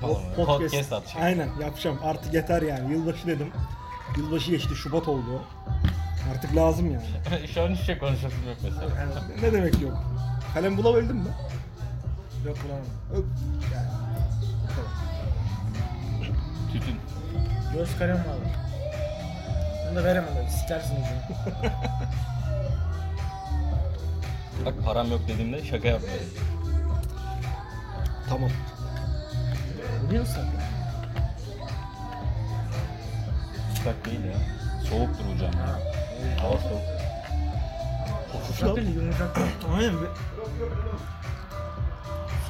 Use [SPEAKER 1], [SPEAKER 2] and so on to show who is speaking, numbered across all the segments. [SPEAKER 1] falan. Podcast, podcast atacak.
[SPEAKER 2] Aynen yapacağım. Artık yeter yani. Yılbaşı dedim. Yılbaşı geçti. Şubat oldu. Artık lazım yani.
[SPEAKER 1] Şu an hiçbir şey konuşasım yok mesela.
[SPEAKER 2] Yani ne demek yok? Kalem bulabildin mi?
[SPEAKER 3] Yok bulamadım.
[SPEAKER 2] Ö- yani, bu kadar.
[SPEAKER 1] Tütün.
[SPEAKER 3] Göz kalem aldım. Bunu da veremem. Sikersin ucunu.
[SPEAKER 1] Bak param yok dediğimde şaka yapmıyorum.
[SPEAKER 2] Tamam.
[SPEAKER 3] Biliyor musun?
[SPEAKER 1] Sıcak değil ya. Soğuktur hocam.
[SPEAKER 3] Ha.
[SPEAKER 1] Hava soğuk.
[SPEAKER 2] Hafifle.
[SPEAKER 3] Yumuşak değil, yumuşak.
[SPEAKER 2] Aynen. be.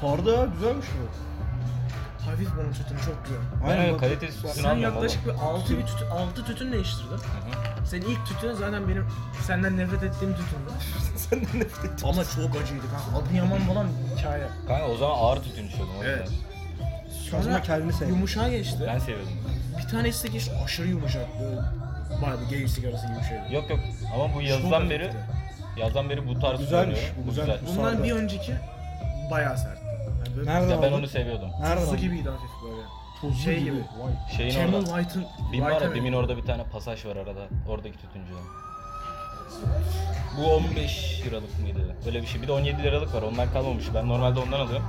[SPEAKER 2] Sardı ya güzelmiş bu.
[SPEAKER 3] Hafif bunun tütünü çok güzel.
[SPEAKER 1] Ben öyle
[SPEAKER 2] bak-
[SPEAKER 1] kalitesiz tütün
[SPEAKER 3] Sen
[SPEAKER 1] almıyorum
[SPEAKER 3] yaklaşık
[SPEAKER 1] oğlum.
[SPEAKER 3] bir 6 bir tütün, 6 tütün değiştirdin.
[SPEAKER 1] Hı hı.
[SPEAKER 3] Senin ilk tütünün zaten benim senden nefret ettiğim tütündü.
[SPEAKER 2] Senden nefret ettim.
[SPEAKER 3] Ama çok acıydı kanka. Adıyaman falan hikaye.
[SPEAKER 1] Kanka o zaman ağır tütün içiyordum. o yüzden.
[SPEAKER 3] Evet.
[SPEAKER 2] Sonra kendini sev.
[SPEAKER 3] yumuşağa geçti.
[SPEAKER 1] Ben seviyordum.
[SPEAKER 3] Bir tanesi de geçti aşırı yumuşak. Böyle bayağı bir gay sigarası gibi bir şeydi.
[SPEAKER 1] Yok yok ama bu
[SPEAKER 3] Çok
[SPEAKER 1] yazdan beri
[SPEAKER 3] hafifti.
[SPEAKER 1] yazdan beri bu tarz
[SPEAKER 2] Güzelmiş,
[SPEAKER 1] kullanıyorum.
[SPEAKER 2] bu güzel.
[SPEAKER 3] Bundan
[SPEAKER 2] Sardı.
[SPEAKER 3] bir önceki bayağı sertti. Yani böyle
[SPEAKER 2] Nereden
[SPEAKER 1] Ya ben
[SPEAKER 2] aldın?
[SPEAKER 1] onu seviyordum.
[SPEAKER 2] Nereden
[SPEAKER 3] Su
[SPEAKER 2] aldın?
[SPEAKER 3] gibiydi hafif böyle.
[SPEAKER 2] Tuzlu
[SPEAKER 3] şey
[SPEAKER 2] gibi.
[SPEAKER 3] gibi.
[SPEAKER 2] Vay.
[SPEAKER 1] Şeyin
[SPEAKER 3] Camel
[SPEAKER 1] orada.
[SPEAKER 3] White'ın...
[SPEAKER 1] Bim var ya
[SPEAKER 3] White'a
[SPEAKER 1] Bim'in
[SPEAKER 3] mı?
[SPEAKER 1] orada bir tane pasaj var arada. Oradaki tütüncü. Bu 15 liralık mıydı? Öyle bir şey. Bir de 17 liralık var. Ondan kalmamış. Ben normalde ondan alıyorum.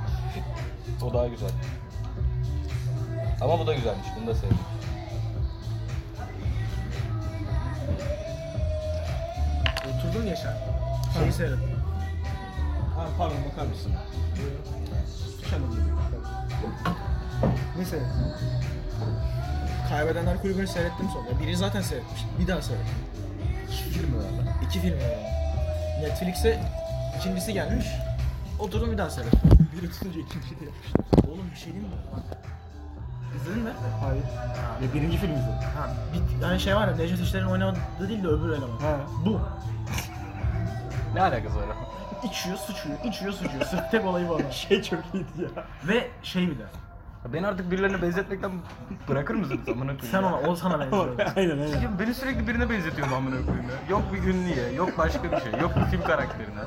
[SPEAKER 1] o daha güzel. Ama bu da güzelmiş. Bunu da sevdim.
[SPEAKER 3] Oturdun Yaşar. Şeyi seyrettim.
[SPEAKER 2] Ha, pardon bakar mısın? Dışarıda gibi. Neyse.
[SPEAKER 3] Kaybedenler Kulübü'nü seyrettim sonra. Biri zaten seyretmiş. Bir daha seyrettim.
[SPEAKER 2] Film herhalde.
[SPEAKER 3] İki film var. Netflix'e ikincisi gelmiş. Oturdum bir daha seyrettim.
[SPEAKER 2] Biri tutunca ikinci de yapmış.
[SPEAKER 3] Oğlum bir şey diyeyim mi? İzledin mi?
[SPEAKER 2] Hayır. Ya birinci film izledim.
[SPEAKER 3] Ha, bir yani şey var ya Necdet İşler'in oynadığı değil de öbür eleman.
[SPEAKER 2] Ha.
[SPEAKER 3] Bu.
[SPEAKER 1] Ne alakası var?
[SPEAKER 3] İçiyor, sıçıyor, içiyor, sıçıyor. Sırf tek olayı bu adam.
[SPEAKER 2] Şey çok iyiydi ya.
[SPEAKER 3] Ve şey bir de.
[SPEAKER 1] Beni artık birilerine benzetmekten bırakır mısın? Amına
[SPEAKER 3] Sen ona, o sana benziyor.
[SPEAKER 2] aynen aynen.
[SPEAKER 1] Ya beni sürekli birine benzetiyorsun amına koyayım ya. Yok bir ünlüye, yok başka bir şey, yok bir film karakterine.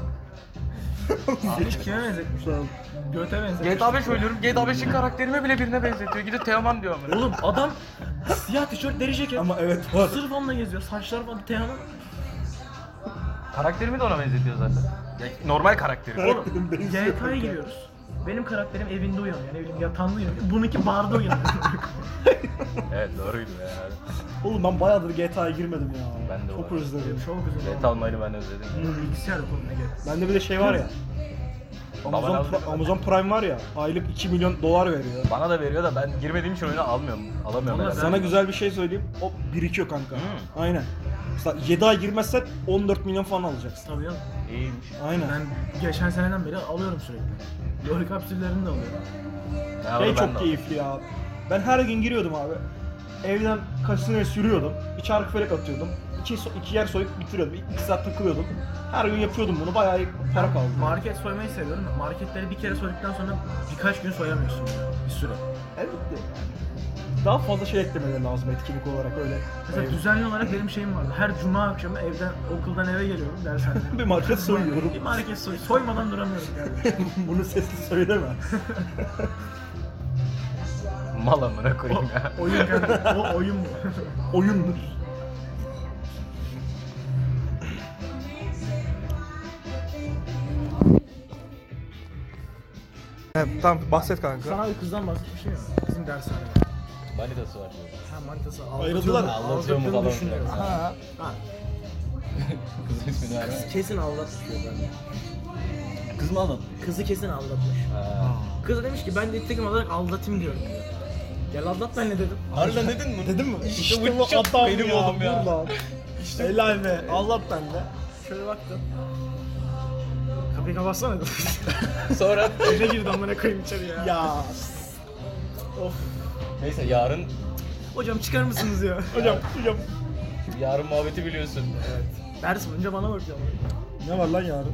[SPEAKER 3] Abi kime benzetmiş?
[SPEAKER 2] Şu an.
[SPEAKER 3] Göte benzetmiş.
[SPEAKER 1] GTA 5 oynuyorum, GTA 5'in karakterime bile birine benzetiyor. Gidip Teoman diyor amına.
[SPEAKER 3] Oğlum adam siyah tişört, deri ceket.
[SPEAKER 2] Ama evet var.
[SPEAKER 3] Sırf onunla geziyor. Saçlar falan Tehan'ın.
[SPEAKER 1] Karakterimi de ona benzetiyor zaten. Ya, normal karakterim.
[SPEAKER 2] Evet.
[SPEAKER 1] Oğlum,
[SPEAKER 3] Oğlum
[SPEAKER 2] benziyor.
[SPEAKER 3] GTA'ya giriyoruz. Benim karakterim evinde uyanıyor. Yani evim yatağında uyanıyor. Bununki barda uyanıyor.
[SPEAKER 1] evet doğruydu ya.
[SPEAKER 2] Oğlum ben bayağıdır GTA'ya girmedim ya.
[SPEAKER 1] Ben de
[SPEAKER 2] Çok
[SPEAKER 1] var.
[SPEAKER 2] özledim.
[SPEAKER 3] Çok güzel.
[SPEAKER 1] GTA Online'ı ben özledim.
[SPEAKER 3] Bunun bilgisayar yok oğlum ne gerek.
[SPEAKER 2] Bende bir de şey var ya.
[SPEAKER 1] Baban
[SPEAKER 2] Amazon,
[SPEAKER 1] aldı.
[SPEAKER 2] Pri- Amazon Prime var ya. Aylık 2 milyon dolar veriyor.
[SPEAKER 1] Bana da veriyor da ben girmediğim için oyunu almıyorum. Alamıyorum.
[SPEAKER 3] Ama
[SPEAKER 1] herhalde.
[SPEAKER 2] Sana güzel bir şey söyleyeyim. O birikiyor kanka.
[SPEAKER 1] Hmm.
[SPEAKER 2] Aynen. Mesela 7 ay girmezsen 14 milyon falan alacaksın.
[SPEAKER 3] Tabii ya.
[SPEAKER 1] İyiymiş.
[SPEAKER 2] Aynen.
[SPEAKER 3] Ben geçen seneden beri alıyorum sürekli. LoL kapsüllerini de alıyorum.
[SPEAKER 1] Ya, onu
[SPEAKER 2] Şey
[SPEAKER 1] ben de
[SPEAKER 2] çok
[SPEAKER 1] aldım.
[SPEAKER 2] keyifli ya. Ben her gün giriyordum abi. Evden kasinoya sürüyordum. İç arka felek atıyordum. İki, so- iki yer soyup bitiriyordum. İ- İki saat takılıyordum. Her gün yapıyordum bunu. Bayağı para kaldı.
[SPEAKER 3] Market soymayı seviyorum. da Marketleri bir kere soyduktan sonra birkaç gün soyamıyorsun. Bir süre.
[SPEAKER 2] Elbette. Daha fazla şey eklemeleri lazım etkinlik olarak öyle.
[SPEAKER 3] Mesela
[SPEAKER 2] Eyvah.
[SPEAKER 3] düzenli olarak benim şeyim vardı. Her cuma akşamı evden, okuldan eve geliyorum dershaneye.
[SPEAKER 2] Bir market soyuyorum.
[SPEAKER 3] bir market soy. Soymadan duramıyorum yani.
[SPEAKER 2] bunu sesli söyleme.
[SPEAKER 1] Mal amına koyayım ya.
[SPEAKER 3] oyun kendi. O oyun mu?
[SPEAKER 2] Oyundur.
[SPEAKER 4] Tamam bahset kanka.
[SPEAKER 3] Sana bir kızdan bahsetmiş şey mi? Bizim dershanede.
[SPEAKER 1] Manitası var. diyor.
[SPEAKER 3] Ha manitası
[SPEAKER 2] Ayrıldılar.
[SPEAKER 3] aldatıyor mu?
[SPEAKER 1] Aldatıyor mu
[SPEAKER 3] Aldattığını
[SPEAKER 1] falan
[SPEAKER 3] düşünüyorum.
[SPEAKER 1] filan.
[SPEAKER 3] Ha. ha.
[SPEAKER 1] Kızın ismini vermem.
[SPEAKER 3] Kesin aldatıyor bence.
[SPEAKER 1] Kız mı aldın?
[SPEAKER 3] Kızı kesin aldatmış. Kız da demiş ki ben de itekim olarak aldatayım diyorum. Gel aldat ben ne dedim.
[SPEAKER 1] Harbiden dedin mi?
[SPEAKER 2] Dedim mi? İşte, bu
[SPEAKER 1] çok
[SPEAKER 2] adam
[SPEAKER 1] benim
[SPEAKER 2] ya.
[SPEAKER 1] oğlum ya.
[SPEAKER 2] dur lan. Helal be. Allah bende.
[SPEAKER 3] Şöyle baktım. Kapıyı kapatsana dedim.
[SPEAKER 1] Sonra
[SPEAKER 3] Evine girdi amına koyayım içeri ya.
[SPEAKER 2] Ya.
[SPEAKER 3] Of.
[SPEAKER 1] Neyse yarın
[SPEAKER 3] Hocam çıkar mısınız ya?
[SPEAKER 2] Hocam, hocam.
[SPEAKER 1] yarın muhabbeti biliyorsun.
[SPEAKER 3] Ders boyunca bana bakıyor.
[SPEAKER 2] Ne var lan yarın?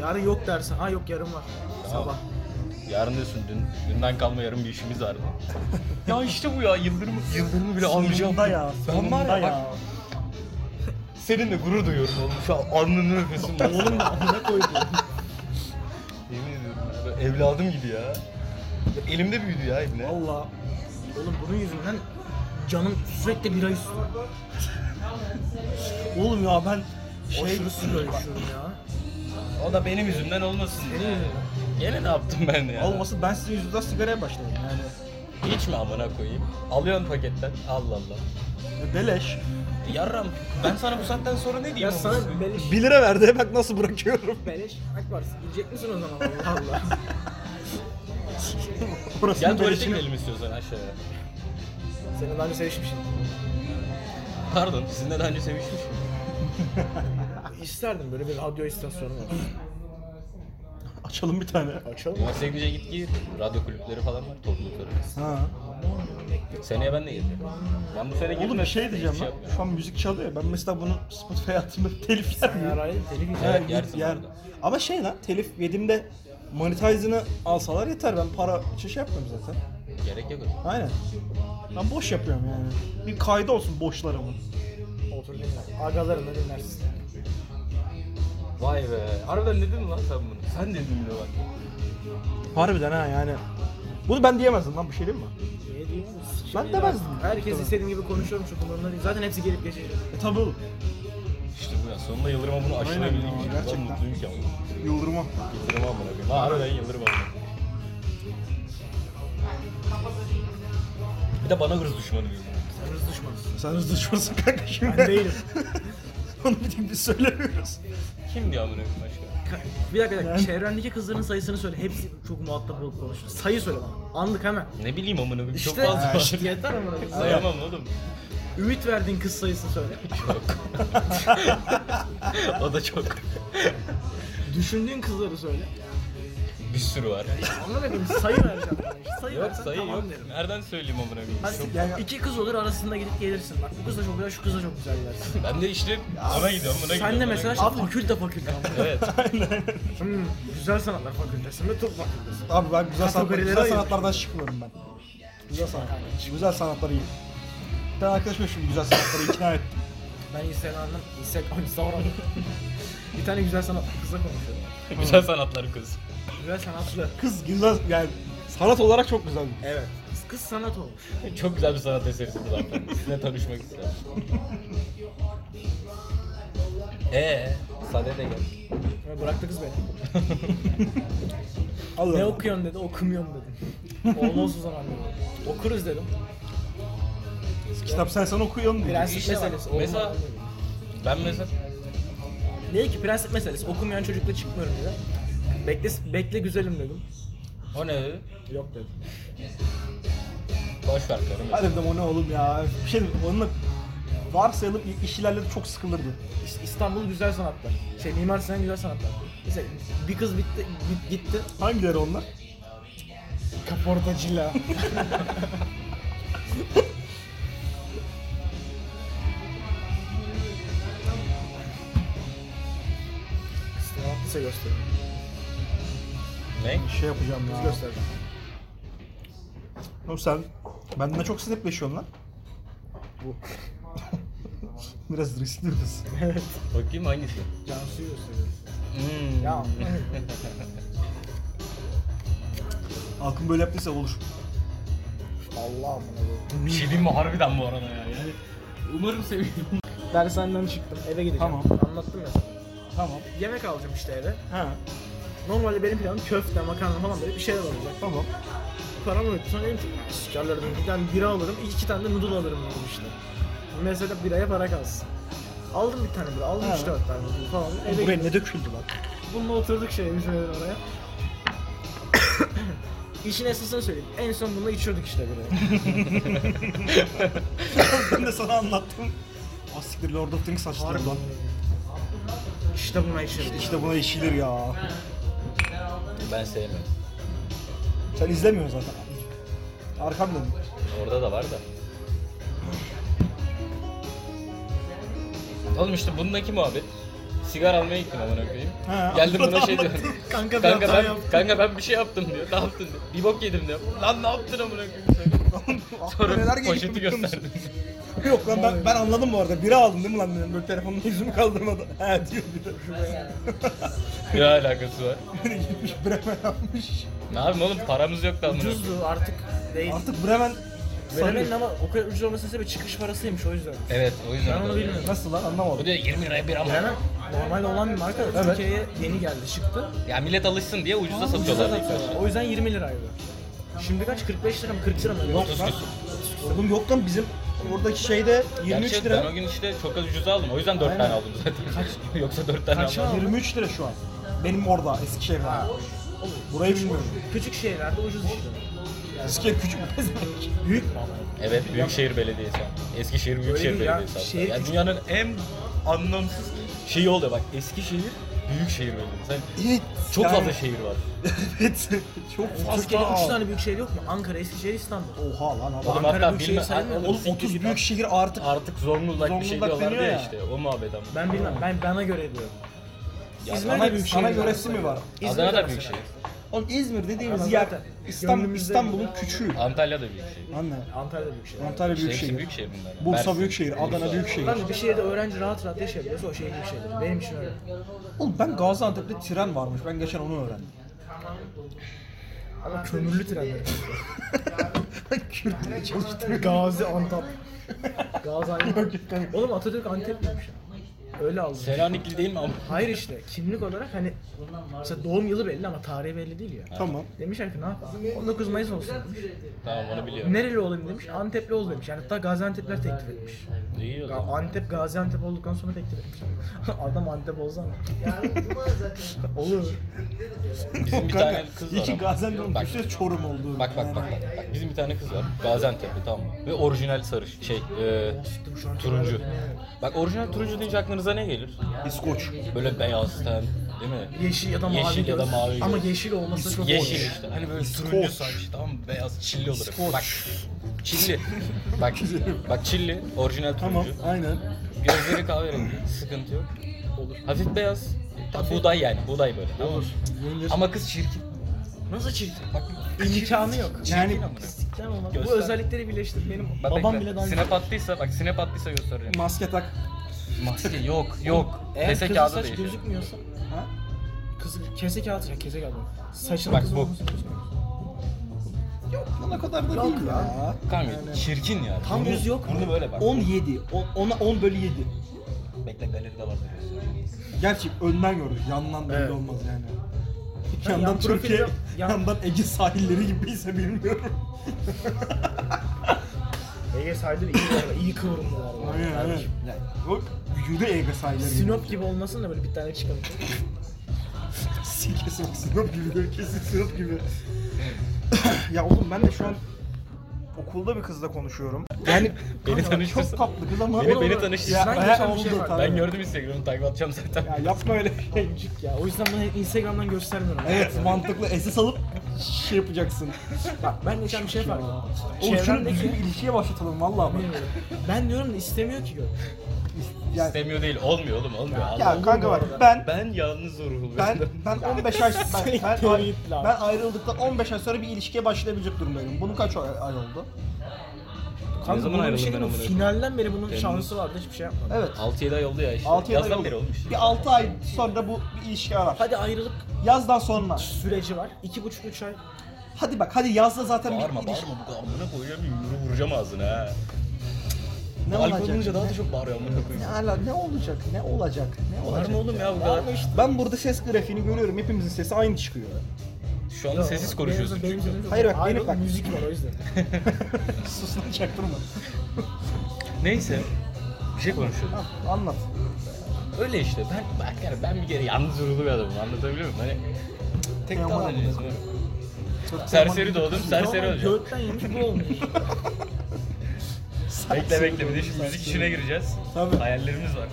[SPEAKER 3] Yarın yok dersin. Ha yok yarın var. Sabah.
[SPEAKER 1] Yarın diyorsun dün, dünden kalma yarın bir işimiz vardı. ya işte bu ya Yıldırım Yıldırım'ı bile anlayacağım.
[SPEAKER 2] Sonunda ya.
[SPEAKER 1] Ben var ya,
[SPEAKER 2] Sonunda ya.
[SPEAKER 1] Bak, seninle gurur duyuyorum oğlum. Şu an alnını öpesim. var.
[SPEAKER 2] Oğlum amına koydum.
[SPEAKER 1] Yemin ediyorum. ya, böyle Evladım gibi ya. Elimde büyüdü ya ibne.
[SPEAKER 2] Valla.
[SPEAKER 3] Oğlum bunun yüzünden canım sürekli bira istiyor.
[SPEAKER 2] Oğlum ya ben şey...
[SPEAKER 3] Aşırı sigara içiyorum ya.
[SPEAKER 1] O da benim yüzümden olmasın.
[SPEAKER 3] Senin yüzünden.
[SPEAKER 1] Gene ne yaptım ben ya?
[SPEAKER 2] Olmasın ben sizin yüzünüzden sigaraya başladım yani.
[SPEAKER 1] İçme amına koyayım. Alıyorsun paketten. Allah Allah. E,
[SPEAKER 2] Beleş.
[SPEAKER 1] Yarram ben sana bu saatten sonra ne diyeyim?
[SPEAKER 3] Ya
[SPEAKER 1] oğlum?
[SPEAKER 3] sana beleş
[SPEAKER 5] 1 lira verdi bak nasıl bırakıyorum.
[SPEAKER 3] beleş hak var. Gidecek misin o zaman Allah Allah.
[SPEAKER 1] Gel
[SPEAKER 2] Orasını
[SPEAKER 1] tuvalete
[SPEAKER 2] beleşini...
[SPEAKER 1] gidelim istiyorsan aşağıya.
[SPEAKER 3] Senin daha önce sevişmişsin.
[SPEAKER 1] Pardon sizinle daha önce sevişmişim.
[SPEAKER 3] İsterdim böyle bir radyo istasyonu olsun.
[SPEAKER 2] Açalım bir tane.
[SPEAKER 3] Açalım.
[SPEAKER 1] Üniversiteye gidince git gir. Radyo kulüpleri falan var toplulukları.
[SPEAKER 2] Ha.
[SPEAKER 1] Seneye ben de gelirim. Ben bu sene girdim.
[SPEAKER 2] Oğlum bir şey diyeceğim lan.
[SPEAKER 1] yapmıyorum.
[SPEAKER 2] Şu an müzik çalıyor ya. Ben mesela bunu Spotify'a attığımda telif yer miyim?
[SPEAKER 3] Ya radyo deli bir
[SPEAKER 1] Evet, yersin
[SPEAKER 2] yer.
[SPEAKER 1] burada.
[SPEAKER 2] Ama şey lan telif yediğimde monetize'ını alsalar yeter. Ben para için şey yapmıyorum zaten.
[SPEAKER 1] Gerek yok. oğlum.
[SPEAKER 2] Aynen. Ben boş yapıyorum yani. Bir kaydı olsun boşlarımın.
[SPEAKER 3] Otur dinle. Agalarını dinlersin.
[SPEAKER 1] Vay be. Harbiden dedin lan sen bunu. Sen dedin diyor bak.
[SPEAKER 2] Harbiden ha yani. Bunu ben diyemezdim lan bir şey değil mi?
[SPEAKER 3] Niye diyeyim?
[SPEAKER 2] Ben demezdim.
[SPEAKER 3] Herkes istediğim gibi konuşuyorum çünkü bunları zaten hepsi gelip geçecek.
[SPEAKER 2] E tabi oğlum.
[SPEAKER 1] İşte bu ya. Sonunda Yıldırım'a bunu aşılabildiğim
[SPEAKER 2] ya,
[SPEAKER 1] için. Ben
[SPEAKER 2] gerçekten.
[SPEAKER 1] mutluyum ki ama.
[SPEAKER 2] Yıldırma.
[SPEAKER 1] Yıldırım'a amına koyayım. Ha harbiden Yıldırım'a amına koyayım. Bir de bana hırs düşmanı diyor.
[SPEAKER 3] Sen hız düşmanısın.
[SPEAKER 2] Sen hızlı düşürsün kanka şimdi.
[SPEAKER 3] Ben değilim.
[SPEAKER 2] Onu bir tek biz söylemiyoruz.
[SPEAKER 1] Kim diyor amına koyayım başka?
[SPEAKER 3] Bir dakika, bir dakika. çevrendeki kızların sayısını söyle. Hepsi çok muhatap olup konuşur. Sayı söyle bana. Anlık hemen.
[SPEAKER 1] Ne bileyim amına koyayım. Çok
[SPEAKER 3] İşte
[SPEAKER 1] fazla var.
[SPEAKER 3] işte yeter ama.
[SPEAKER 1] Sayamam oğlum.
[SPEAKER 3] Ümit verdiğin kız sayısını söyle.
[SPEAKER 1] Çok. o da çok.
[SPEAKER 3] Düşündüğün kızları söyle.
[SPEAKER 1] Bir sürü var.
[SPEAKER 3] Anladın mı? Sayı vereceğim. bana işte. Sayı
[SPEAKER 1] Yok
[SPEAKER 3] versen
[SPEAKER 1] sayı
[SPEAKER 3] tamam
[SPEAKER 1] yok.
[SPEAKER 3] derim.
[SPEAKER 1] Nereden söyleyeyim amına koyayım?
[SPEAKER 3] Hadi
[SPEAKER 1] Çok-
[SPEAKER 2] yani-
[SPEAKER 3] iki kız olur arasında gidip gelirsin. Bak bu kız da çok güzel, şu kız da çok güzel dersin.
[SPEAKER 1] Ben de işte buna gidiyorum buna gidiyorum.
[SPEAKER 3] Sen de
[SPEAKER 1] buna
[SPEAKER 3] mesela şey-
[SPEAKER 1] gidiyorum.
[SPEAKER 3] işte fakülte fakülte.
[SPEAKER 1] Evet.
[SPEAKER 3] hmm, güzel sanatlar fakültesi mi, tıp fakültesi mi?
[SPEAKER 2] Abi ben güzel, sanat,
[SPEAKER 3] Kategorilere
[SPEAKER 2] güzel
[SPEAKER 3] ayır.
[SPEAKER 2] sanatlardan çıkmıyorum ben. Güzel sanatlar. Güzel sanatları iyi. Bir tane arkadaşım şimdi güzel sanatları ikna ettim.
[SPEAKER 3] Ben İsa'nın, İsa, İsa Bir tane güzel sanatlı kızla konuşuyorum.
[SPEAKER 1] Güzel sanatlar kız.
[SPEAKER 3] Güzel sanatlı.
[SPEAKER 2] Kız güzel yani sanat olarak çok güzel.
[SPEAKER 3] Evet. Kız, kız sanat olmuş.
[SPEAKER 1] Çok güzel bir sanat eseri bu zaten. Sizinle tanışmak isterim. Ee, sade de gel.
[SPEAKER 3] Ya Bıraktı kız beni.
[SPEAKER 2] Allah
[SPEAKER 3] Ne
[SPEAKER 2] Allah.
[SPEAKER 3] okuyorsun dedi, okumuyorum dedim. Olmaz o zaman dedim. Okuruz dedim.
[SPEAKER 2] Kitap sen sen okuyalım diye.
[SPEAKER 3] Prensip
[SPEAKER 1] İşte bak,
[SPEAKER 3] meselesi. olmaz
[SPEAKER 1] mesela-
[SPEAKER 3] dedim.
[SPEAKER 1] Ben mesela
[SPEAKER 3] Dedi ki prensip meselesi, okumayan çocukla çıkmıyorum dedi. Bekle, bekle güzelim dedim.
[SPEAKER 1] o ne?
[SPEAKER 3] Yok dedim.
[SPEAKER 1] Boş ver karım.
[SPEAKER 2] Hadi dedim o ne oğlum ya. Bir şey dedim onunla varsayalım iş ilerledi çok sıkılırdı.
[SPEAKER 3] İs- İstanbul güzel sanatlar. Şey Mimar Sinan güzel sanatlar. Mesela bir kız bitti, git- gitti.
[SPEAKER 2] Hangileri onlar?
[SPEAKER 3] Kaportacıyla. Size göstereyim.
[SPEAKER 1] Ne?
[SPEAKER 2] Şey yapacağım
[SPEAKER 3] Size
[SPEAKER 2] ya.
[SPEAKER 3] göstereceğim.
[SPEAKER 2] Oğlum sen benden çok snapleşiyorsun lan. Bu. Biraz riskli biraz.
[SPEAKER 3] Evet.
[SPEAKER 1] Bakayım hangisi?
[SPEAKER 3] Cansu'yu gösteriyorum.
[SPEAKER 1] Hmm.
[SPEAKER 3] Ya.
[SPEAKER 2] Halkın böyle yaptıysa olur.
[SPEAKER 3] Allah'ım bunu.
[SPEAKER 1] Bir şey diyeyim mi harbiden bu arada ya. Yani umarım seviyorum.
[SPEAKER 3] Dershaneden çıktım. Eve gideceğim.
[SPEAKER 2] Tamam.
[SPEAKER 3] Anlattım ya sana.
[SPEAKER 2] Tamam.
[SPEAKER 3] Yemek alacağım işte eve.
[SPEAKER 2] Ha.
[SPEAKER 3] Normalde benim planım köfte, makarna falan böyle bir şeyler olacak.
[SPEAKER 2] Tamam.
[SPEAKER 3] Param yok. Sonra dedim ki sikerler dedim. Bir tane bira alırım, iki tane de noodle alırım dedim işte. Mesela biraya para kalsın. Aldım bir tane bira, aldım
[SPEAKER 2] Evet.
[SPEAKER 3] üç dört tane noodle falan. Eve
[SPEAKER 2] Buraya
[SPEAKER 3] gittim.
[SPEAKER 2] ne döküldü lan?
[SPEAKER 3] Bununla oturduk şey bizim evin oraya. İşin esasını söyleyeyim. En son bununla içiyorduk işte buraya.
[SPEAKER 2] ben de sana anlattım. Asiktir Lord of the Rings açtı lan.
[SPEAKER 3] İşte buna içiyorduk.
[SPEAKER 2] İşte buna işilir ya.
[SPEAKER 1] Ben sevmem.
[SPEAKER 2] Sen izlemiyorsun zaten. Arkamda mı?
[SPEAKER 1] Orada da var da. Oğlum işte bundaki muhabbet. Sigara almaya gittim amına koyayım.
[SPEAKER 2] Ha,
[SPEAKER 1] Geldim buna
[SPEAKER 2] orada
[SPEAKER 1] şey diyor.
[SPEAKER 2] anlattın.
[SPEAKER 3] Kanka bir
[SPEAKER 1] kanka
[SPEAKER 3] hata
[SPEAKER 1] ben
[SPEAKER 3] yaptım.
[SPEAKER 1] kanka ben bir şey yaptım diyor. Ne yaptın diyor. Bir bok yedim diyor. Lan ne yaptın amına koyayım sen?
[SPEAKER 2] Aklına
[SPEAKER 1] Sonra
[SPEAKER 2] neler gelip
[SPEAKER 1] poşeti
[SPEAKER 2] biliyor musun?
[SPEAKER 1] gösterdim.
[SPEAKER 2] Yok lan ben, ben anladım bu arada. Bira aldın değil mi lan dedim. Böyle telefonun yüzümü kaldırmadan. He diyor bir de.
[SPEAKER 6] Ne alakası var?
[SPEAKER 2] Böyle gitmiş Bremen almış.
[SPEAKER 6] Ne yapayım oğlum paramız yok da amına koyayım.
[SPEAKER 3] Ucuzdu artık değil.
[SPEAKER 2] Artık Bremen
[SPEAKER 3] Veremeyin ama o kadar ucuz olmasının sebebi çıkış parasıymış o yüzden.
[SPEAKER 6] Evet o yüzden.
[SPEAKER 3] Ben onu
[SPEAKER 6] alıyor.
[SPEAKER 3] bilmiyorum.
[SPEAKER 2] nasıl lan
[SPEAKER 6] Bu
[SPEAKER 2] anlamadım.
[SPEAKER 6] diyor 20 liraya bir ama.
[SPEAKER 3] Bremen normalde olan bir marka da Türkiye'ye yeni geldi çıktı.
[SPEAKER 6] Ya millet alışsın diye ucuza satıyorlar.
[SPEAKER 3] Ucuza satıyorlar. O yüzden 20 liraydı. Şimdi kaç? 45 lira mı? 40 lira mı? Yok
[SPEAKER 6] Otuz
[SPEAKER 3] lan.
[SPEAKER 6] küsür.
[SPEAKER 2] Oğlum yok lan bizim oradaki şeyde 23
[SPEAKER 6] Gerçi
[SPEAKER 2] lira.
[SPEAKER 6] ben o gün işte çok az ucuza aldım. O yüzden 4 tane aldım zaten. Yoksa 4 tane
[SPEAKER 3] Kaça
[SPEAKER 6] almam.
[SPEAKER 2] 23 lira şu an. Benim orada Eskişehir'de.
[SPEAKER 3] Oğlum,
[SPEAKER 2] Burayı bilmiyorum.
[SPEAKER 3] Küçük şehirlerde ucuz işte.
[SPEAKER 2] Eskişehir küçük bir pezevenk.
[SPEAKER 3] Büyük mü ama?
[SPEAKER 6] Evet Büyükşehir Belediyesi. Eskişehir Büyükşehir
[SPEAKER 3] Öyle değil ya,
[SPEAKER 6] Belediyesi. hatta.
[SPEAKER 3] şehir
[SPEAKER 6] Ya
[SPEAKER 3] küçük.
[SPEAKER 6] dünyanın en anlamsız şeyi oluyor bak. Eskişehir Büyükşehir Belediyesi. Hani
[SPEAKER 2] Evet.
[SPEAKER 6] çok
[SPEAKER 2] yani-
[SPEAKER 6] fazla şey. şehir var.
[SPEAKER 2] Evet. Çok
[SPEAKER 3] Türkiye'de
[SPEAKER 2] fazla.
[SPEAKER 3] 3 tane büyük şehir yok mu? Ankara, Eskişehir, İstanbul.
[SPEAKER 2] Oha lan
[SPEAKER 6] Oğlum
[SPEAKER 2] adam.
[SPEAKER 3] Ankara
[SPEAKER 6] hatta
[SPEAKER 3] Büyükşehir
[SPEAKER 6] bilme,
[SPEAKER 3] şey sayılmıyor mu?
[SPEAKER 6] oğlum,
[SPEAKER 2] Oğlum 30 büyük şehir artık
[SPEAKER 6] artık Zonguldak, bir şey
[SPEAKER 2] Zonguldak
[SPEAKER 6] diyorlar ya,
[SPEAKER 2] deniyor ya.
[SPEAKER 6] işte o muhabbet ama.
[SPEAKER 3] Ben bilmem. Ben bana göre diyorum.
[SPEAKER 6] Ya
[SPEAKER 3] İzmir'de
[SPEAKER 2] sana,
[SPEAKER 3] büyük
[SPEAKER 2] sana
[SPEAKER 3] şehir
[SPEAKER 2] göresi mi var?
[SPEAKER 6] Adana da
[SPEAKER 3] mesela.
[SPEAKER 6] büyük şehir.
[SPEAKER 2] Oğlum İzmir dediğimiz
[SPEAKER 3] Anadolu
[SPEAKER 2] yer
[SPEAKER 3] zaten.
[SPEAKER 2] İstanbul,
[SPEAKER 3] Gönlümüzde
[SPEAKER 2] İstanbul'un
[SPEAKER 3] mi?
[SPEAKER 2] küçüğü.
[SPEAKER 6] Antalya da büyük şehir.
[SPEAKER 2] Anne.
[SPEAKER 3] Antalya da büyük şehir.
[SPEAKER 2] Antalya
[SPEAKER 6] İşte
[SPEAKER 2] Büyükşehir.
[SPEAKER 6] hepsi büyük şehir bunlar. ya.
[SPEAKER 2] Bursa
[SPEAKER 6] Mersin,
[SPEAKER 2] Büyükşehir, Adana
[SPEAKER 6] Bursa.
[SPEAKER 2] Büyükşehir.
[SPEAKER 3] Lan bir şehirde öğrenci rahat rahat yaşayabiliyorsa o şehir büyük şehir. Benim için öyle.
[SPEAKER 2] Oğlum ben Gaziantep'te tren varmış. Ben geçen onu öğrendim.
[SPEAKER 3] Ama kömürlü trenler.
[SPEAKER 2] Kürtleri çalıştım.
[SPEAKER 3] Gazi, Antap. Gazi, Antap. Oğlum Atatürk Antepliymiş ya. Öyle aldım.
[SPEAKER 6] Selanikli değil mi ama?
[SPEAKER 3] Hayır işte kimlik olarak hani mesela doğum yılı belli ama tarihi belli değil ya.
[SPEAKER 2] Tamam.
[SPEAKER 3] Demişler ki ne yapalım? 19 Mayıs olsun demiş.
[SPEAKER 6] Tamam onu biliyorum.
[SPEAKER 3] Nereli olayım demiş. Antepli ol demiş. Yani hatta Gaziantep'ler teklif etmiş.
[SPEAKER 6] İyi o
[SPEAKER 3] Ya
[SPEAKER 6] zaman.
[SPEAKER 3] Antep Gaziantep olduktan sonra teklif etmiş. Adam Antep olsa mı? Olur.
[SPEAKER 6] Bizim bir
[SPEAKER 2] Kanka,
[SPEAKER 6] tane kız var.
[SPEAKER 2] iki
[SPEAKER 6] ama.
[SPEAKER 2] Gaziantep'in
[SPEAKER 6] Bak,
[SPEAKER 2] küçüğü Çorum oldu.
[SPEAKER 6] Bak bak bak bak. bak. Bizim bir tane kız var. Gaziantep'li tamam mı? Ve orijinal sarı şey e, turuncu. Bak orijinal turuncu deyince aklınıza ne gelir?
[SPEAKER 2] İskoç.
[SPEAKER 6] Böyle beyaz ten değil mi?
[SPEAKER 3] Yeşil ya da mavi.
[SPEAKER 6] Yeşil ya da
[SPEAKER 3] göz.
[SPEAKER 6] mavi göz.
[SPEAKER 3] Ama yeşil olması çok
[SPEAKER 6] Yeşil
[SPEAKER 3] hoş.
[SPEAKER 6] işte. Hani böyle
[SPEAKER 2] İskoç.
[SPEAKER 6] turuncu saç tamam mı? Beyaz çilli olur.
[SPEAKER 2] İskoç.
[SPEAKER 6] Bak. Çilli. bak. Bak çilli. Orijinal turuncu.
[SPEAKER 2] Tamam, aynen.
[SPEAKER 6] Gözleri kahverengi. Sıkıntı yok. Olur. Hafif beyaz. Tam buğday yani. Buğday böyle. Tamam. mı?
[SPEAKER 2] Yengeç-
[SPEAKER 6] Ama kız çirkin.
[SPEAKER 3] Nasıl çirkin?
[SPEAKER 6] Bak.
[SPEAKER 3] İmkanı yok.
[SPEAKER 6] Yani
[SPEAKER 2] Yani-
[SPEAKER 3] Sikten olmaz. Bu
[SPEAKER 6] Göster.
[SPEAKER 3] özellikleri birleştir benim.
[SPEAKER 6] Bak,
[SPEAKER 3] babam
[SPEAKER 6] bekle.
[SPEAKER 3] bile daha
[SPEAKER 6] Sinep attıysa bak sinep attıysa göstereceğim.
[SPEAKER 2] Maske tak.
[SPEAKER 6] Maske yok yok.
[SPEAKER 3] Eğer
[SPEAKER 6] Kese
[SPEAKER 3] kızın
[SPEAKER 6] kağıdı
[SPEAKER 3] saç
[SPEAKER 6] değişiyor.
[SPEAKER 3] gözükmüyorsa
[SPEAKER 2] Ha?
[SPEAKER 3] kızı kese kağıdı ya kese kağıdı. Saçın
[SPEAKER 6] Bak,
[SPEAKER 3] kızı
[SPEAKER 6] bu.
[SPEAKER 3] olması gözükmüyor.
[SPEAKER 2] Lan o kadar da
[SPEAKER 3] Yok
[SPEAKER 2] değil
[SPEAKER 3] lan.
[SPEAKER 2] ya.
[SPEAKER 6] Kanka çirkin ya.
[SPEAKER 3] Tam
[SPEAKER 6] Burnu-
[SPEAKER 3] yüz yok mu?
[SPEAKER 6] Burnu böyle bak.
[SPEAKER 2] 17. 10, 10 bölü 7.
[SPEAKER 6] Bekle galeride var.
[SPEAKER 2] Gerçi önden gördük. Yandan belli
[SPEAKER 3] Evet.
[SPEAKER 2] olmaz yani.
[SPEAKER 3] Ya
[SPEAKER 2] yandan
[SPEAKER 3] yan
[SPEAKER 2] Türkiye,
[SPEAKER 3] profilde- yan-
[SPEAKER 2] yandan Ege sahilleri gibiyse bilmiyorum.
[SPEAKER 3] Ege sahilleri iyi var, iyi kıvrımlılar var.
[SPEAKER 2] Aynen aynen.
[SPEAKER 3] Kardeşim.
[SPEAKER 2] Yani o vücudu Ege sahilleri. gibi.
[SPEAKER 3] Sinop gibi olmasın da böyle bir tane çıkalım.
[SPEAKER 2] Sikesi bak Sinop gibi diyor kesin Sinop gibi. ya oğlum ben de şu an okulda bir kızla konuşuyorum. Yani
[SPEAKER 6] Beni
[SPEAKER 2] kanka
[SPEAKER 6] tanıştırsın.
[SPEAKER 2] Çok tatlı kız ama
[SPEAKER 6] Beni,
[SPEAKER 3] Oğlum,
[SPEAKER 6] beni
[SPEAKER 3] oğlum.
[SPEAKER 6] tanıştırsın.
[SPEAKER 2] ya,
[SPEAKER 3] Sen
[SPEAKER 2] ya,
[SPEAKER 3] geçen bir
[SPEAKER 2] oldu
[SPEAKER 3] şey var.
[SPEAKER 2] tabii.
[SPEAKER 6] Ben gördüm Instagram'ı takip atacağım zaten.
[SPEAKER 2] Ya yapma öyle.
[SPEAKER 3] Gencik ya. O yüzden ben Instagram'dan göstermiyorum.
[SPEAKER 2] evet mantıklı esas alıp şey yapacaksın.
[SPEAKER 3] Bak ben geçen bir şey fark ettim.
[SPEAKER 2] Oğlum şunu
[SPEAKER 3] Çevremdeki...
[SPEAKER 2] düzgün bir ilişkiye başlatalım vallahi bak.
[SPEAKER 3] Bilmiyorum. Ben diyorum da istemiyor ki gör.
[SPEAKER 2] Yani-
[SPEAKER 6] İstemiyor değil. Olmuyor oğlum olmuyor.
[SPEAKER 2] ya
[SPEAKER 6] Allah.
[SPEAKER 2] kanka bak ben
[SPEAKER 6] Ben yalnız ruhum.
[SPEAKER 2] ben ben 15 ay
[SPEAKER 6] Şey
[SPEAKER 2] ben, ben,
[SPEAKER 3] Teori gitti lan.
[SPEAKER 2] ben ayrıldıktan 15 ay sonra bir ilişkiye başlayabilecek durumdayım. Bunun kaç ay, ay oldu?
[SPEAKER 6] Ne
[SPEAKER 3] Kanka
[SPEAKER 6] zaman
[SPEAKER 3] bunun bir
[SPEAKER 6] ayrıldın
[SPEAKER 3] şey değil
[SPEAKER 6] ben
[SPEAKER 3] mi?
[SPEAKER 6] amına koyayım?
[SPEAKER 3] Finalden beri bunun
[SPEAKER 6] Temmuz.
[SPEAKER 3] şansı vardı hiçbir şey yapmadı.
[SPEAKER 2] Evet.
[SPEAKER 6] 6-7 ay oldu ya işte.
[SPEAKER 2] 6
[SPEAKER 6] Yazdan beri olmuş.
[SPEAKER 2] Bir 6 ay sonra bu bir ilişki arar.
[SPEAKER 3] Hadi ayrılık
[SPEAKER 2] Yazdan sonra.
[SPEAKER 3] süreci var. 2,5-3 ay.
[SPEAKER 2] Hadi bak hadi yazda zaten
[SPEAKER 6] Bağırma
[SPEAKER 2] bir ilişki.
[SPEAKER 6] bağırma bu kadar amına koyacağım yumruğu vuracağım ağzına ha.
[SPEAKER 2] Ne
[SPEAKER 6] Alkol
[SPEAKER 2] olacak?
[SPEAKER 6] olunca daha da çok bağırıyor amına
[SPEAKER 2] Ne
[SPEAKER 6] koyayım.
[SPEAKER 2] ala ne olacak? Ne olacak? Ne olacak?
[SPEAKER 6] Bağırma oğlum ya bu
[SPEAKER 2] Bağırma
[SPEAKER 6] kadar.
[SPEAKER 2] işte. Ben burada ses grafiğini görüyorum. Hepimizin sesi aynı çıkıyor.
[SPEAKER 6] Şu anda sessiz konuşuyorsun
[SPEAKER 3] Benim,
[SPEAKER 6] çünkü.
[SPEAKER 3] benim, benim,
[SPEAKER 2] Hayır bak, benim
[SPEAKER 3] oğlum,
[SPEAKER 2] bak.
[SPEAKER 3] Müzik var o yüzden.
[SPEAKER 2] Sus lan çaktırma.
[SPEAKER 6] Neyse. Bir şey konuşuyorduk.
[SPEAKER 2] Hah, Ah, Anlat.
[SPEAKER 6] Öyle işte ben bak yani ben bir kere yalnız ruhlu bir adamım anlatabiliyor muyum? Hani tek
[SPEAKER 2] Yaman
[SPEAKER 6] tabanca
[SPEAKER 2] amına
[SPEAKER 6] insanım. Serseri doğdum serseri öleceğim.
[SPEAKER 3] Göğütten yemiş bu olmuyor.
[SPEAKER 6] Bekle bekle bir de şimdi müzik işine gireceğiz.
[SPEAKER 2] Tabii.
[SPEAKER 6] Hayallerimiz var.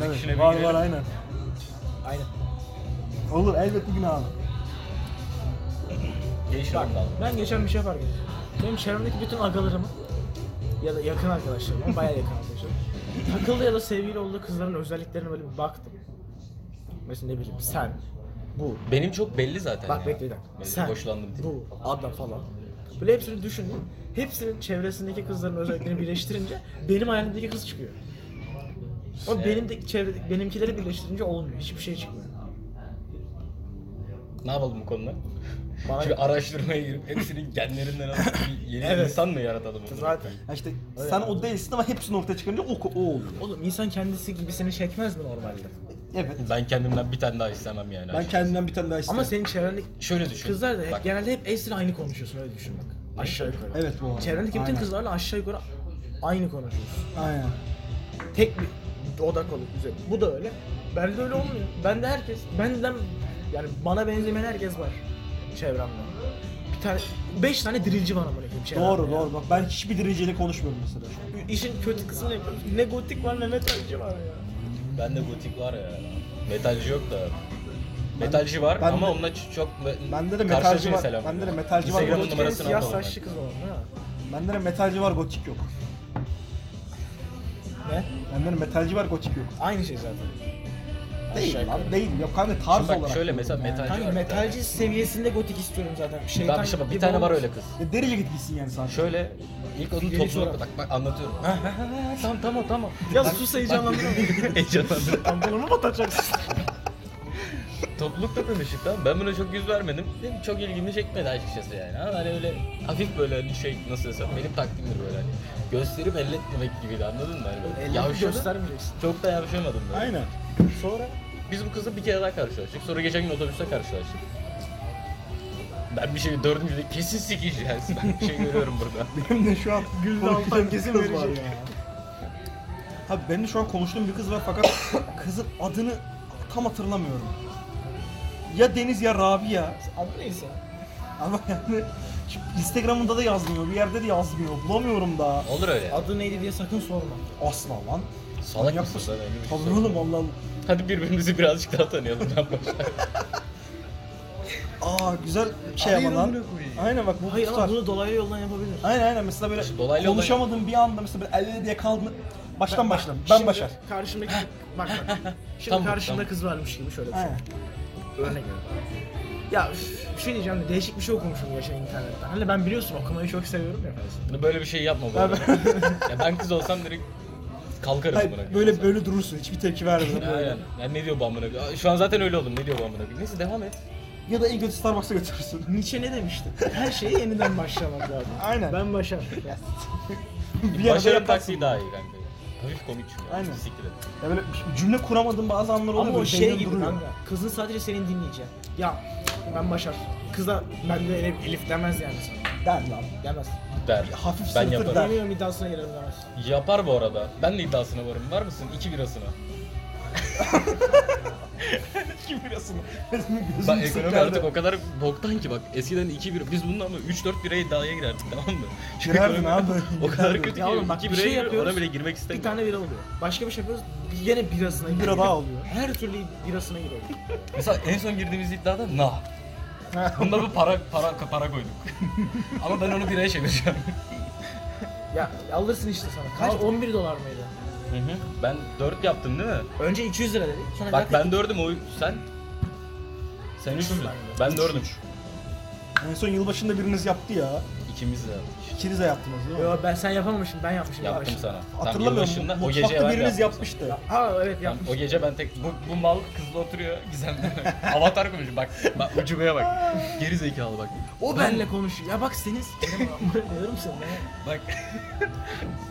[SPEAKER 6] Müzik işine
[SPEAKER 2] Evet,
[SPEAKER 6] bir
[SPEAKER 2] var
[SPEAKER 6] girelim.
[SPEAKER 2] var aynen.
[SPEAKER 3] Aynen.
[SPEAKER 2] Olur elbet bir gün abi.
[SPEAKER 6] Geç lan dalga.
[SPEAKER 3] Ben geçen bir şey fark ettim. Benim çevremdeki bütün agalarımın ya da yakın arkadaşlarım, ama bayağı yakın arkadaşlarım. Takıldı ya da sevgili olduğu kızların özelliklerine böyle bir baktım. Mesela ne bileyim sen, bu.
[SPEAKER 6] Benim çok belli zaten.
[SPEAKER 3] Bak
[SPEAKER 6] ya.
[SPEAKER 3] bekle bir dakika.
[SPEAKER 6] Belli,
[SPEAKER 3] Sen,
[SPEAKER 6] hoşlandım diye.
[SPEAKER 3] bu, adam falan. Böyle hepsini düşündüm. Hepsinin çevresindeki kızların özelliklerini birleştirince benim hayalimdeki kız çıkıyor. Ama benim de çevre, benimkileri birleştirince olmuyor. Hiçbir şey çıkmıyor.
[SPEAKER 6] Ne yapalım bu konuda?
[SPEAKER 3] Bana-
[SPEAKER 6] Şimdi araştırmaya girip hepsinin genlerinden alıp bir yeni
[SPEAKER 3] Evet.
[SPEAKER 6] insan mı yaratalım? bunu?
[SPEAKER 3] Zaten.
[SPEAKER 2] Ya işte sen o değilsin ama hepsini ortaya çıkarınca o, o oluyor.
[SPEAKER 3] Oğlum insan kendisi gibisini çekmez mi normalde?
[SPEAKER 2] Evet.
[SPEAKER 6] Ben kendimden bir tane daha istemem yani.
[SPEAKER 2] Ben kendimden bir tane daha isterim.
[SPEAKER 3] Ama senin çevrendeki
[SPEAKER 6] Şöyle düşün.
[SPEAKER 3] kızlar da hep-
[SPEAKER 6] Bak,
[SPEAKER 3] genelde hep eşsiyle aynı konuşuyorsun öyle düşün bak. Aşağı yukarı.
[SPEAKER 2] Evet bu arada.
[SPEAKER 3] Çevrendeki bütün
[SPEAKER 2] Aynen.
[SPEAKER 3] kızlarla aşağı yukarı aynı konuşuyorsun.
[SPEAKER 2] Aynen.
[SPEAKER 3] Tek bir odak olup güzel. Bu da öyle. Bende öyle olmuyor. Bende herkes, benden yani bana benzemeyen herkes var çevremde. Bir tane, beş tane dirilci var amına koyayım çevremde.
[SPEAKER 2] Doğru
[SPEAKER 3] ya.
[SPEAKER 2] doğru bak ben hiçbir dereceyle konuşmuyorum mesela şu an.
[SPEAKER 3] İşin kötü kısmını yapıyoruz. Ne gotik var ne metalci var ya.
[SPEAKER 6] Ben de gotik var ya. Metalci yok da. Metalci var
[SPEAKER 2] ben
[SPEAKER 6] ama
[SPEAKER 2] de-
[SPEAKER 6] onunla ç- çok me-
[SPEAKER 2] Bende de
[SPEAKER 6] karşılaşıyor
[SPEAKER 2] metalci var-
[SPEAKER 6] mesela.
[SPEAKER 2] bende de metalci var.
[SPEAKER 6] Instagram
[SPEAKER 2] Gotik'in
[SPEAKER 3] Gotik'in
[SPEAKER 6] numarasını
[SPEAKER 3] siyah
[SPEAKER 6] atalım. ben.
[SPEAKER 3] saçlı kız olan ha.
[SPEAKER 2] Bende de metalci var gotik yok.
[SPEAKER 3] Ne?
[SPEAKER 2] Bende de metalci var gotik yok.
[SPEAKER 3] Aynı şey zaten.
[SPEAKER 2] Değil
[SPEAKER 3] Aşağı
[SPEAKER 2] lan
[SPEAKER 3] yukarı.
[SPEAKER 2] değil yok kanka tarz
[SPEAKER 6] Şimdi bak
[SPEAKER 2] olarak.
[SPEAKER 6] şöyle
[SPEAKER 2] diyorum
[SPEAKER 6] mesela
[SPEAKER 2] yani.
[SPEAKER 6] metalci var.
[SPEAKER 3] Kanka
[SPEAKER 6] bir tane.
[SPEAKER 3] metalci seviyesinde gotik istiyorum zaten. Şeytan
[SPEAKER 6] Bak işte bak, bir
[SPEAKER 3] gibi
[SPEAKER 6] tane var
[SPEAKER 3] olmaz.
[SPEAKER 6] öyle kız.
[SPEAKER 2] Ya derece git gitsin yani sadece.
[SPEAKER 6] Şöyle ilk onun
[SPEAKER 3] Geri
[SPEAKER 6] topuna
[SPEAKER 3] sonra.
[SPEAKER 6] bak bak anlatıyorum. tamam tamam tamam.
[SPEAKER 3] Ya sus heyecanlandım.
[SPEAKER 6] Heyecanlandım.
[SPEAKER 3] Pantolonu mu atacaksın?
[SPEAKER 6] Toplulukta konuştuk tamam. Ben buna çok yüz vermedim. Benim çok ilgimi çekmedi açıkçası yani. Ama hani öyle hafif böyle hani şey nasıl desem benim takdimdir böyle hani. Gösterip elletmemek gibiydi anladın mı? Hani böyle
[SPEAKER 3] Elini
[SPEAKER 6] yavşadı.
[SPEAKER 3] göstermeyeceksin.
[SPEAKER 6] Çok da yavşamadım böyle.
[SPEAKER 2] Aynen.
[SPEAKER 3] Sonra
[SPEAKER 6] Biz bu kızla bir kere daha karşılaştık. Sonra geçen gün otobüste karşılaştık. Ben bir şey dördüncü de kesin sikici yani. Ben bir şey görüyorum burada.
[SPEAKER 2] Benim de şu an
[SPEAKER 3] Gülde
[SPEAKER 2] konuşacağım
[SPEAKER 3] Altan kesin
[SPEAKER 2] kız var
[SPEAKER 3] verecek.
[SPEAKER 2] ya. Abi benim de şu an konuştuğum bir kız var fakat kızın adını tam hatırlamıyorum. Ya Deniz ya Rabia.
[SPEAKER 3] adı neyse.
[SPEAKER 2] Ama yani şu Instagram'ında da yazmıyor, bir yerde de yazmıyor. Bulamıyorum da.
[SPEAKER 6] Olur öyle.
[SPEAKER 3] Adı neydi diye sakın sorma.
[SPEAKER 2] Asla lan.
[SPEAKER 6] Salak
[SPEAKER 2] Manyak
[SPEAKER 6] mısın sen? Öyle bir şey
[SPEAKER 2] Tabii
[SPEAKER 6] yok.
[SPEAKER 2] oğlum Allah Allah.
[SPEAKER 6] Hadi birbirimizi birazcık daha tanıyalım. Ben başlayayım.
[SPEAKER 2] Aa güzel şey ama lan. Aynen bak bu
[SPEAKER 3] Hayır
[SPEAKER 2] tutar.
[SPEAKER 3] ama bunu dolaylı yoldan yapabilir.
[SPEAKER 2] Aynen aynen mesela böyle
[SPEAKER 6] İşte dolaylı olay-
[SPEAKER 2] konuşamadığım bir anda mesela böyle elle diye kaldın. Baştan başla. Ben
[SPEAKER 3] Şimdi
[SPEAKER 2] başar.
[SPEAKER 3] Karşımdaki bak bak. Şimdi
[SPEAKER 6] Tamam,
[SPEAKER 3] karşında
[SPEAKER 6] tamam.
[SPEAKER 3] kız varmış gibi şöyle bir şey.
[SPEAKER 2] Aynen.
[SPEAKER 3] Örnek veriyorum. Ya üf, bir şey diyeceğim de değişik bir şey okumuşum geçen internetten. Hani ben biliyorsun okumayı çok seviyorum ya.
[SPEAKER 6] Böyle bir şey yapma bu arada. ya ben kız olsam direkt kalkarım
[SPEAKER 2] Hayır,
[SPEAKER 6] amına koyayım.
[SPEAKER 2] böyle böyle durursun. Hiçbir tepki vermeden
[SPEAKER 6] Aynen.
[SPEAKER 2] böyle.
[SPEAKER 6] Ya ne diyor bu amına koyayım? Aa, Şu an zaten öyle oldum. Ne diyor bu amına koyayım? Neyse devam et.
[SPEAKER 2] Ya da en kötü Starbucks'a götürürsün.
[SPEAKER 3] Nietzsche ne demişti? Her şeye yeniden başlamak lazım.
[SPEAKER 2] Aynen.
[SPEAKER 3] Ben başar.
[SPEAKER 2] bir yerde
[SPEAKER 6] Başarım
[SPEAKER 2] yaparsın.
[SPEAKER 6] taksiyi daha iyi kanka. Hafif komik çünkü.
[SPEAKER 2] Aynen.
[SPEAKER 6] Siktir et.
[SPEAKER 2] Ya böyle cümle kuramadığın bazı anlar oluyor.
[SPEAKER 3] Ama o
[SPEAKER 2] böyle
[SPEAKER 3] şey
[SPEAKER 2] beynin
[SPEAKER 3] gibi
[SPEAKER 2] duruyor.
[SPEAKER 3] kanka. Kızın sadece seni dinleyeceği. Ya ben başar. Kız da ben de Elif, Elif demez yani sana.
[SPEAKER 2] Der lan.
[SPEAKER 3] Demez.
[SPEAKER 6] Der.
[SPEAKER 2] Hafif
[SPEAKER 6] ben
[SPEAKER 2] sırıtır
[SPEAKER 6] yaparım.
[SPEAKER 2] der.
[SPEAKER 3] Yemiyorum iddiasına girerim demez.
[SPEAKER 6] Yapar bu arada. Ben de iddiasına varım. Var mısın? İki birasına.
[SPEAKER 2] Kim biliyorsun? Benim gözüm
[SPEAKER 6] Bak ekonomi
[SPEAKER 2] sıkkındı.
[SPEAKER 6] artık o kadar boktan ki bak. Eskiden 2 bir biz bununla ama 3 4 biraya iddiaya girerdik tamam mı? Şu
[SPEAKER 2] Girerdin
[SPEAKER 6] ekonomi
[SPEAKER 2] abi.
[SPEAKER 6] O kadar kötü ki
[SPEAKER 3] Ya oğlum bak
[SPEAKER 6] 2
[SPEAKER 3] bir şey
[SPEAKER 6] biraya girip
[SPEAKER 3] yapıyoruz.
[SPEAKER 6] ona bile girmek
[SPEAKER 3] Bir
[SPEAKER 6] istemiyorum.
[SPEAKER 3] tane bira oluyor. Başka bir şey yapıyoruz. bir- Gene birasına giriyor.
[SPEAKER 2] daha alıyor.
[SPEAKER 3] Her türlü birasına giriyor.
[SPEAKER 6] Mesela en son girdiğimiz iddiada nah. Bunda bir para para para koyduk. ama ben onu biraya çevireceğim.
[SPEAKER 3] ya alırsın işte sana. Kaç? 11 dolar mıydı?
[SPEAKER 6] ben 4 yaptım değil mi?
[SPEAKER 3] Önce 200 lira dedik. Sonra
[SPEAKER 6] Bak
[SPEAKER 3] zaten
[SPEAKER 6] ben 4'üm o sen sen 3'sün. Ben 4'üm.
[SPEAKER 2] En son yılbaşında biriniz yaptı ya.
[SPEAKER 6] İkimiz de yaptık işte.
[SPEAKER 2] İkiniz de yaptınız değil mi?
[SPEAKER 3] Yo ben sen yapamamışsın ben yapmışım.
[SPEAKER 6] Yaptım
[SPEAKER 3] yavaş.
[SPEAKER 6] sana. Tam
[SPEAKER 2] Hatırlamıyorum.
[SPEAKER 6] yılbaşında, o gece
[SPEAKER 2] Mutfakta
[SPEAKER 6] ben
[SPEAKER 2] biriniz
[SPEAKER 6] yaptım sana.
[SPEAKER 2] yapmıştı.
[SPEAKER 3] Ha evet
[SPEAKER 6] Tam
[SPEAKER 3] yapmışım.
[SPEAKER 6] o gece ben tek bu, bu mal kızla oturuyor gizemli. Avatar konuşuyor bak. Bak ucubaya bak. Geri zekalı bak.
[SPEAKER 3] O benle konuşuyor. Ya bak seniz. Diyorum sana.
[SPEAKER 6] Bak.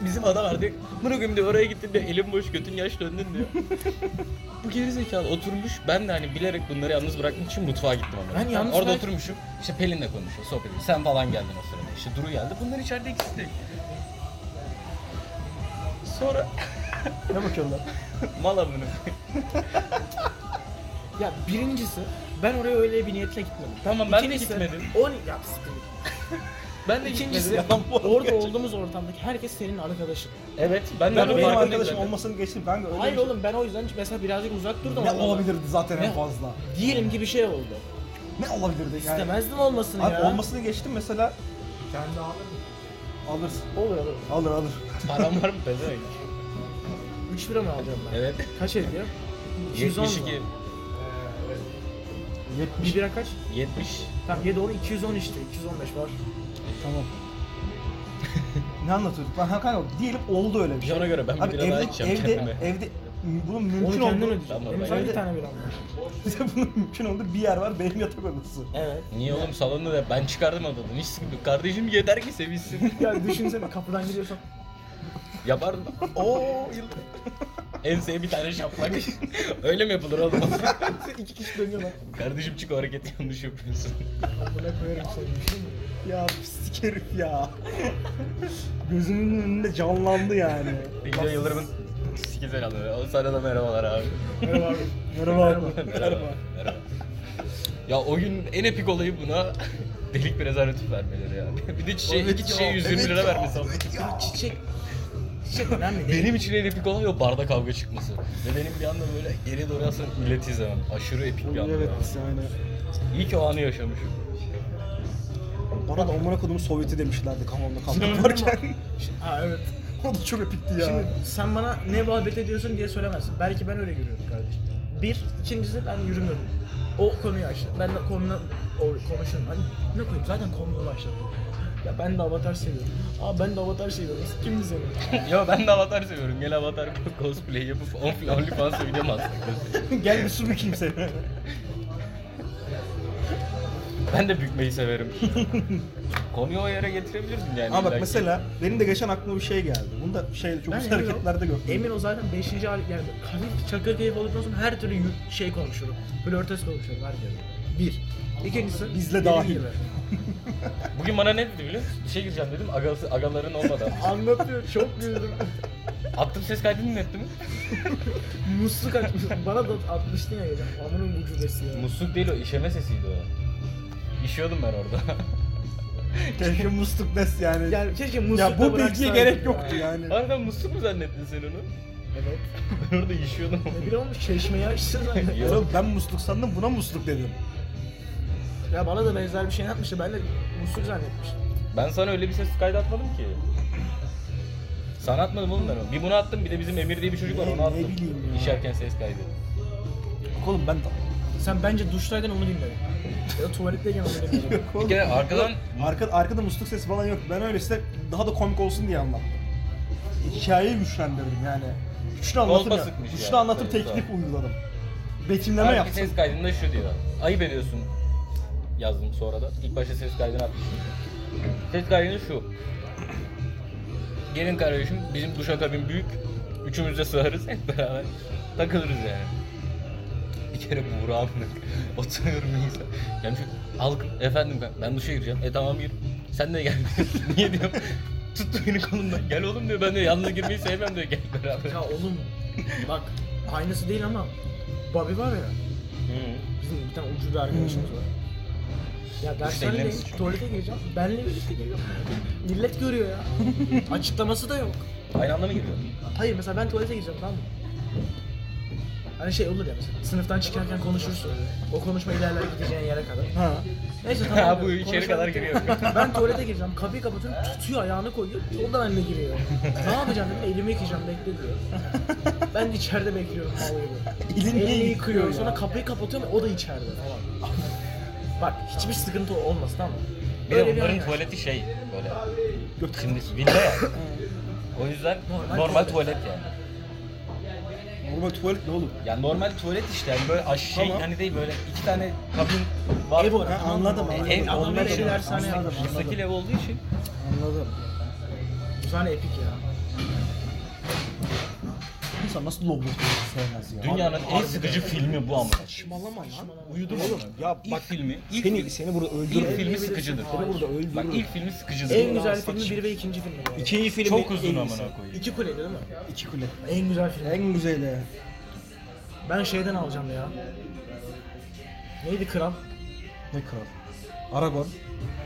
[SPEAKER 6] Bizim adam vardı. Mırıkım diyor oraya gittin diyor. Elim boş götün yaş döndün diyor. bu geri zekalı oturmuş. Ben de hani bilerek bunları yalnız bırakmak için mutfağa gittim ama.
[SPEAKER 3] Ben yalnız
[SPEAKER 6] orada
[SPEAKER 3] bırak-
[SPEAKER 6] oturmuşum. İşte Pelin'le konuşuyor, sohbet ediyor. Sen falan geldin o sırada. İşte Duru geldi. Bunlar içeride ikisi de. Sonra
[SPEAKER 2] Ne bakıyorlar?
[SPEAKER 6] mal amına.
[SPEAKER 3] Ya birincisi ben oraya öyle bir niyetle gitmedim.
[SPEAKER 6] Tamam, ben de
[SPEAKER 3] İkincisi,
[SPEAKER 6] gitmedim.
[SPEAKER 3] On ya sıkıntı.
[SPEAKER 6] Ben de
[SPEAKER 3] İkincisi
[SPEAKER 6] gitmedim.
[SPEAKER 3] orada olduğumuz ortamdaki herkes senin arkadaşın.
[SPEAKER 6] Evet ben de
[SPEAKER 2] Ben
[SPEAKER 6] arada
[SPEAKER 2] benim
[SPEAKER 6] farkındayım
[SPEAKER 2] arkadaşım
[SPEAKER 6] zaten.
[SPEAKER 2] olmasını geçtim kanka. Öyle
[SPEAKER 3] Hayır
[SPEAKER 2] bir şey-
[SPEAKER 3] oğlum ben o yüzden mesela birazcık uzak durdum.
[SPEAKER 2] Ne
[SPEAKER 3] ondan.
[SPEAKER 2] olabilirdi zaten en
[SPEAKER 3] Ne-
[SPEAKER 2] fazla?
[SPEAKER 3] Diyelim ki bir şey oldu.
[SPEAKER 2] Ne olabilirdi yani?
[SPEAKER 3] İstemezdim olmasını
[SPEAKER 2] Abi
[SPEAKER 3] ya.
[SPEAKER 2] olmasını geçtim mesela. Kendi alır Alırsın.
[SPEAKER 3] Olur olur.
[SPEAKER 2] Alır alır.
[SPEAKER 6] Param var mı pezevenk?
[SPEAKER 3] 3 lira mı alacağım ben?
[SPEAKER 6] Evet.
[SPEAKER 3] Kaç ediyor? 210 mu?
[SPEAKER 6] 72.
[SPEAKER 3] Bir
[SPEAKER 2] 70
[SPEAKER 3] bira kaç?
[SPEAKER 6] 70.
[SPEAKER 3] Tamam 7 10 210 işte. 215 var.
[SPEAKER 2] tamam. ne anlatıyorduk? Ben ha kanka diyelim oldu öyle bir
[SPEAKER 6] Bir
[SPEAKER 2] şey.
[SPEAKER 6] ona göre ben bir
[SPEAKER 2] Abi
[SPEAKER 6] bira daha
[SPEAKER 2] evde
[SPEAKER 6] içeceğim
[SPEAKER 2] evde
[SPEAKER 6] kendime.
[SPEAKER 2] evde bunun
[SPEAKER 3] Onu
[SPEAKER 2] mümkün
[SPEAKER 3] kendin
[SPEAKER 2] olduğu
[SPEAKER 3] ödeyeceksin.
[SPEAKER 6] Tamam,
[SPEAKER 3] Benim
[SPEAKER 6] ben-
[SPEAKER 3] sadece bir tane biram var.
[SPEAKER 2] bunun mümkün olduğu bir yer var benim yatak odası.
[SPEAKER 3] Evet.
[SPEAKER 6] Niye oğlum salonda da ben çıkardım odadan. Hiç sıkıntı yok. Kardeşim yeter ki sevinsin.
[SPEAKER 3] Ya düşünsene kapıdan giriyorsan
[SPEAKER 6] Yapardım. Oo yıldır. Enseye bir tane şaplak. Öyle mi yapılır oğlum?
[SPEAKER 3] iki kişi dönüyor bak.
[SPEAKER 6] Kardeşim çık o hareketi yanlış yapıyorsun.
[SPEAKER 3] Buna koyarım seni. düşünsene.
[SPEAKER 2] Ya pislik herif ya. Gözümün önünde canlandı yani.
[SPEAKER 6] İlce Yıldırım'ın sikizel alıyor. O sana da merhabalar abi.
[SPEAKER 3] Merhaba abi.
[SPEAKER 2] Merhaba abi.
[SPEAKER 6] Merhaba. Merhaba. Ya o gün en epik olayı buna delik bir rezervatif vermeleri yani. Bir de çiçeği, iki çiçeği 120 lira vermesi. ama.
[SPEAKER 3] Ya çiçek. Çiçek önemli değil.
[SPEAKER 6] Benim için en epik olan o barda kavga çıkması. Ve benim bir anda böyle geri doğru aslında milleti izlemem. Aşırı epik bir anda.
[SPEAKER 2] Evet
[SPEAKER 6] ya.
[SPEAKER 2] yani.
[SPEAKER 6] İyi ki o anı yaşamışım.
[SPEAKER 2] Bana da amına kodumun Sovyeti demişlerdi kamamda kamp varken.
[SPEAKER 3] Ha evet.
[SPEAKER 2] o da çok epikti ya.
[SPEAKER 3] Şimdi sen bana ne muhabbet ediyorsun diye söylemezsin. Belki ben öyle görüyorum kardeşim. Bir, ikincisi ben yürümüyorum. O konuyu açtı. Ben de konuyla o- konuşurum. Hani ne koyayım zaten konuyla başladım. Ya ben de avatar seviyorum. Aa ben de avatar seviyorum. Kim bize ne?
[SPEAKER 6] ya ben de avatar seviyorum. Gel avatar cosplay yapıp on- OnlyFans'a video mu atsak diyorsun?
[SPEAKER 2] Gel bir su bükeyim seni.
[SPEAKER 6] Ben de bükmeyi severim. Konuyu o yere getirebilirdim yani.
[SPEAKER 2] Ama
[SPEAKER 6] illa
[SPEAKER 2] bak
[SPEAKER 6] ki.
[SPEAKER 2] mesela benim de geçen aklıma bir şey geldi. Bunu da şey çok güzel
[SPEAKER 3] emin ol-
[SPEAKER 2] hareketlerde gördüm.
[SPEAKER 3] Emin ol zaten 5. hal yani hafif çakır keyif olduktan sonra her türlü yü- şey konuşurum. Flörtes konuşurum her yerde. Bir. İkincisi
[SPEAKER 2] Bizle
[SPEAKER 3] dediğim
[SPEAKER 2] dahil.
[SPEAKER 3] gibi.
[SPEAKER 6] Bugün bana ne dedi biliyor musun? İşe gireceğim dedim. Agası, agaların olmadan.
[SPEAKER 3] Anlatıyor çok güldüm.
[SPEAKER 6] Attım ses kaydını dinletti mi?
[SPEAKER 3] Musluk açmış. Bana da atmıştın ya. yine. Amının ucubesi ya.
[SPEAKER 6] Musluk değil o işeme sesiydi o. İşiyordum ben orada.
[SPEAKER 2] Keşke musluk des yani.
[SPEAKER 3] Yani keşke musluk
[SPEAKER 2] ya
[SPEAKER 3] da
[SPEAKER 2] bu bilgiye
[SPEAKER 3] bıraksaydın ya.
[SPEAKER 2] gerek yoktu yani.
[SPEAKER 6] Harbiden musluk mu zannettin sen onu?
[SPEAKER 3] Evet.
[SPEAKER 6] Ben orada işiyordum.
[SPEAKER 3] Ne bileyim oğlum çeşmeyi açtın zaten.
[SPEAKER 6] Yok.
[SPEAKER 2] Oğlum ben musluk sandım buna musluk dedim.
[SPEAKER 3] ya bana da benzer bir şey yapmıştı. Ben de musluk zannetmiştim.
[SPEAKER 6] Ben sana öyle bir ses kaydı atmadım ki. Sana atmadım oğlum ben onu. Bir bunu attım bir de bizim Emir diye bir çocuk var
[SPEAKER 2] Ne-
[SPEAKER 6] onu attım.
[SPEAKER 2] ne bileyim ya.
[SPEAKER 6] İşerken ses kaydı.
[SPEAKER 2] Bak oğlum ben
[SPEAKER 3] Sen bence duştayken onu dinledin. ya da tuvaletteyken onu dinledin.
[SPEAKER 6] Bir kere arkadan
[SPEAKER 2] Arka, arkada musluk sesi falan yok. Ben öyle size daha da komik olsun diye anlattım. Hikayeyi güçlendirdim yani. Güçlü anlatıp,
[SPEAKER 6] Kolpa sıkmış
[SPEAKER 2] güçlü
[SPEAKER 6] yani.
[SPEAKER 2] anlatıp
[SPEAKER 6] Evet,
[SPEAKER 2] teknik
[SPEAKER 6] tamam.
[SPEAKER 2] uyguladım. Betimleme
[SPEAKER 6] Halbuki
[SPEAKER 2] yaptım.
[SPEAKER 6] ses kaydında şu diyor. Ayıp ediyorsun. Yazdım sonra da. İlk başta ses kaydını atmışım. Ses kaydında şu. Gelin kardeşim bizim duşakabin büyük. Üçümüz de sığarız hep beraber. Takılırız yani. Bir kere Buğra'mla oturuyorum neyse. Yani şu halkım efendim ben- ben duşa gireceğim. E tamam gir. Sen de gel. Niye diyorum. Tuttu beni kolumdan. Gel oğlum diyor. Ben de yalnız girmeyi sevmem diyor. Gel beraber.
[SPEAKER 3] ya oğlum bak aynısı değil ama Bobby var ya.
[SPEAKER 6] Hı.
[SPEAKER 3] Bizim bir tane ucube arkadaşımız var. Ya dershanede
[SPEAKER 6] ellerimiz çok.
[SPEAKER 3] tuvalete gireceğim. Benle birlikte geliyor. Millet görüyor ya. Açıklaması da yok.
[SPEAKER 6] Aynı anda mı giriyor?
[SPEAKER 3] Hayır mesela ben tuvalete gireceğim tamam mı? Hani şey olur ya mesela sınıftan çıkarken konuşursun. O konuşma ilerler gideceğin yere kadar.
[SPEAKER 2] Ha.
[SPEAKER 3] Neyse tamam.
[SPEAKER 6] Ha bu
[SPEAKER 3] Konuşma
[SPEAKER 6] içeri kadar
[SPEAKER 3] bitti.
[SPEAKER 6] giriyor.
[SPEAKER 3] Ben tuvalete gireceğim. Kapıyı kapatıyorum. Tutuyor ayağını koyuyor. Ondan anne giriyor. ne yapacağım dedim. Elimi yıkayacağım bekle diyor. Ben de içeride bekliyorum ağlıyor.
[SPEAKER 2] Elini niye
[SPEAKER 3] Elini
[SPEAKER 2] yıkıyor
[SPEAKER 3] yıkıyor.
[SPEAKER 2] ya?
[SPEAKER 3] Sonra kapıyı kapatıyorum. O da içeride falan. Bak hiçbir sıkıntı olmasın ama.
[SPEAKER 6] Bir de
[SPEAKER 3] Böyle
[SPEAKER 6] onların
[SPEAKER 3] an-
[SPEAKER 6] tuvaleti şey böyle. Şimdi villa ya. o yüzden normal,
[SPEAKER 3] Normal
[SPEAKER 6] tuvalet yani.
[SPEAKER 2] Normal tuvalet ne oğlum?
[SPEAKER 6] Yani normal tuvalet işte yani böyle aş şey
[SPEAKER 2] Tamam.
[SPEAKER 6] hani değil böyle iki tane kabin var.
[SPEAKER 3] Ev olarak.
[SPEAKER 2] Ha, anladım anladım.
[SPEAKER 6] Ev-
[SPEAKER 2] Anladım,
[SPEAKER 6] adamlar
[SPEAKER 2] anladım,
[SPEAKER 6] evi
[SPEAKER 3] dershane
[SPEAKER 2] anladım,
[SPEAKER 3] yapmış.
[SPEAKER 2] anladım.
[SPEAKER 6] Müstakil ev olduğu için.
[SPEAKER 2] Anladım.
[SPEAKER 3] Bu sahne epik ya.
[SPEAKER 2] İnsan nasıl lobo sevmez ya?
[SPEAKER 6] Dünyanın en sıkıcı filmi bu ama.
[SPEAKER 2] Saçmalama lan.
[SPEAKER 6] Uyudum oğlum.
[SPEAKER 2] Ya
[SPEAKER 6] İlk
[SPEAKER 2] bak
[SPEAKER 6] filmi, ilk,
[SPEAKER 2] seni,
[SPEAKER 6] fi-
[SPEAKER 2] seni burada öldürürüm.
[SPEAKER 6] ilk filmi sıkıcıdır.
[SPEAKER 2] Seni burada öldürürüm.
[SPEAKER 6] Bak ilk filmi sıkıcıdır.
[SPEAKER 3] En güzel filmi bir ve ikinci filmi. bu arada.
[SPEAKER 2] İkinci film
[SPEAKER 6] Çok uzun amına koyayım.
[SPEAKER 3] İki kuleydi değil mi?
[SPEAKER 2] İki kule.
[SPEAKER 3] En güzel film.
[SPEAKER 2] En güzeli.
[SPEAKER 3] Ben şeyden alacağım ya. Neydi kral?
[SPEAKER 2] Ne kral? Aragon.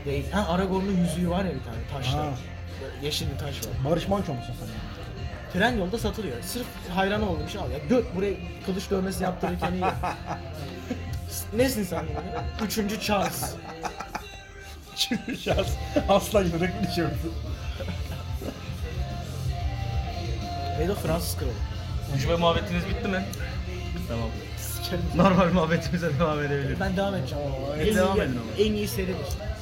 [SPEAKER 3] Değil. Ha Aragorn'un yüzüğü var ya bir tane taşlı.
[SPEAKER 2] Ha.
[SPEAKER 3] Böyle Yeşil bir taş var.
[SPEAKER 2] Barış Manço musun sen?
[SPEAKER 3] Tren yolda satılıyor. Sırf hayran olduğum için al ya. Dö buraya kılıç dövmesi yaptırırken iyi. Nesin sen yani? Üçüncü Charles.
[SPEAKER 2] Şimdi şahs aslan yürek içiyorsun.
[SPEAKER 3] Ve de Fransız kralı.
[SPEAKER 6] Ucube muhabbetiniz bitti mi? Tamam.
[SPEAKER 3] kendimiz.
[SPEAKER 7] Normal muhabbetimize devam edebiliriz.
[SPEAKER 3] Ben devam edeceğim.
[SPEAKER 7] evet, devam
[SPEAKER 3] iyi,
[SPEAKER 7] edin ama.
[SPEAKER 3] En iyi seridir.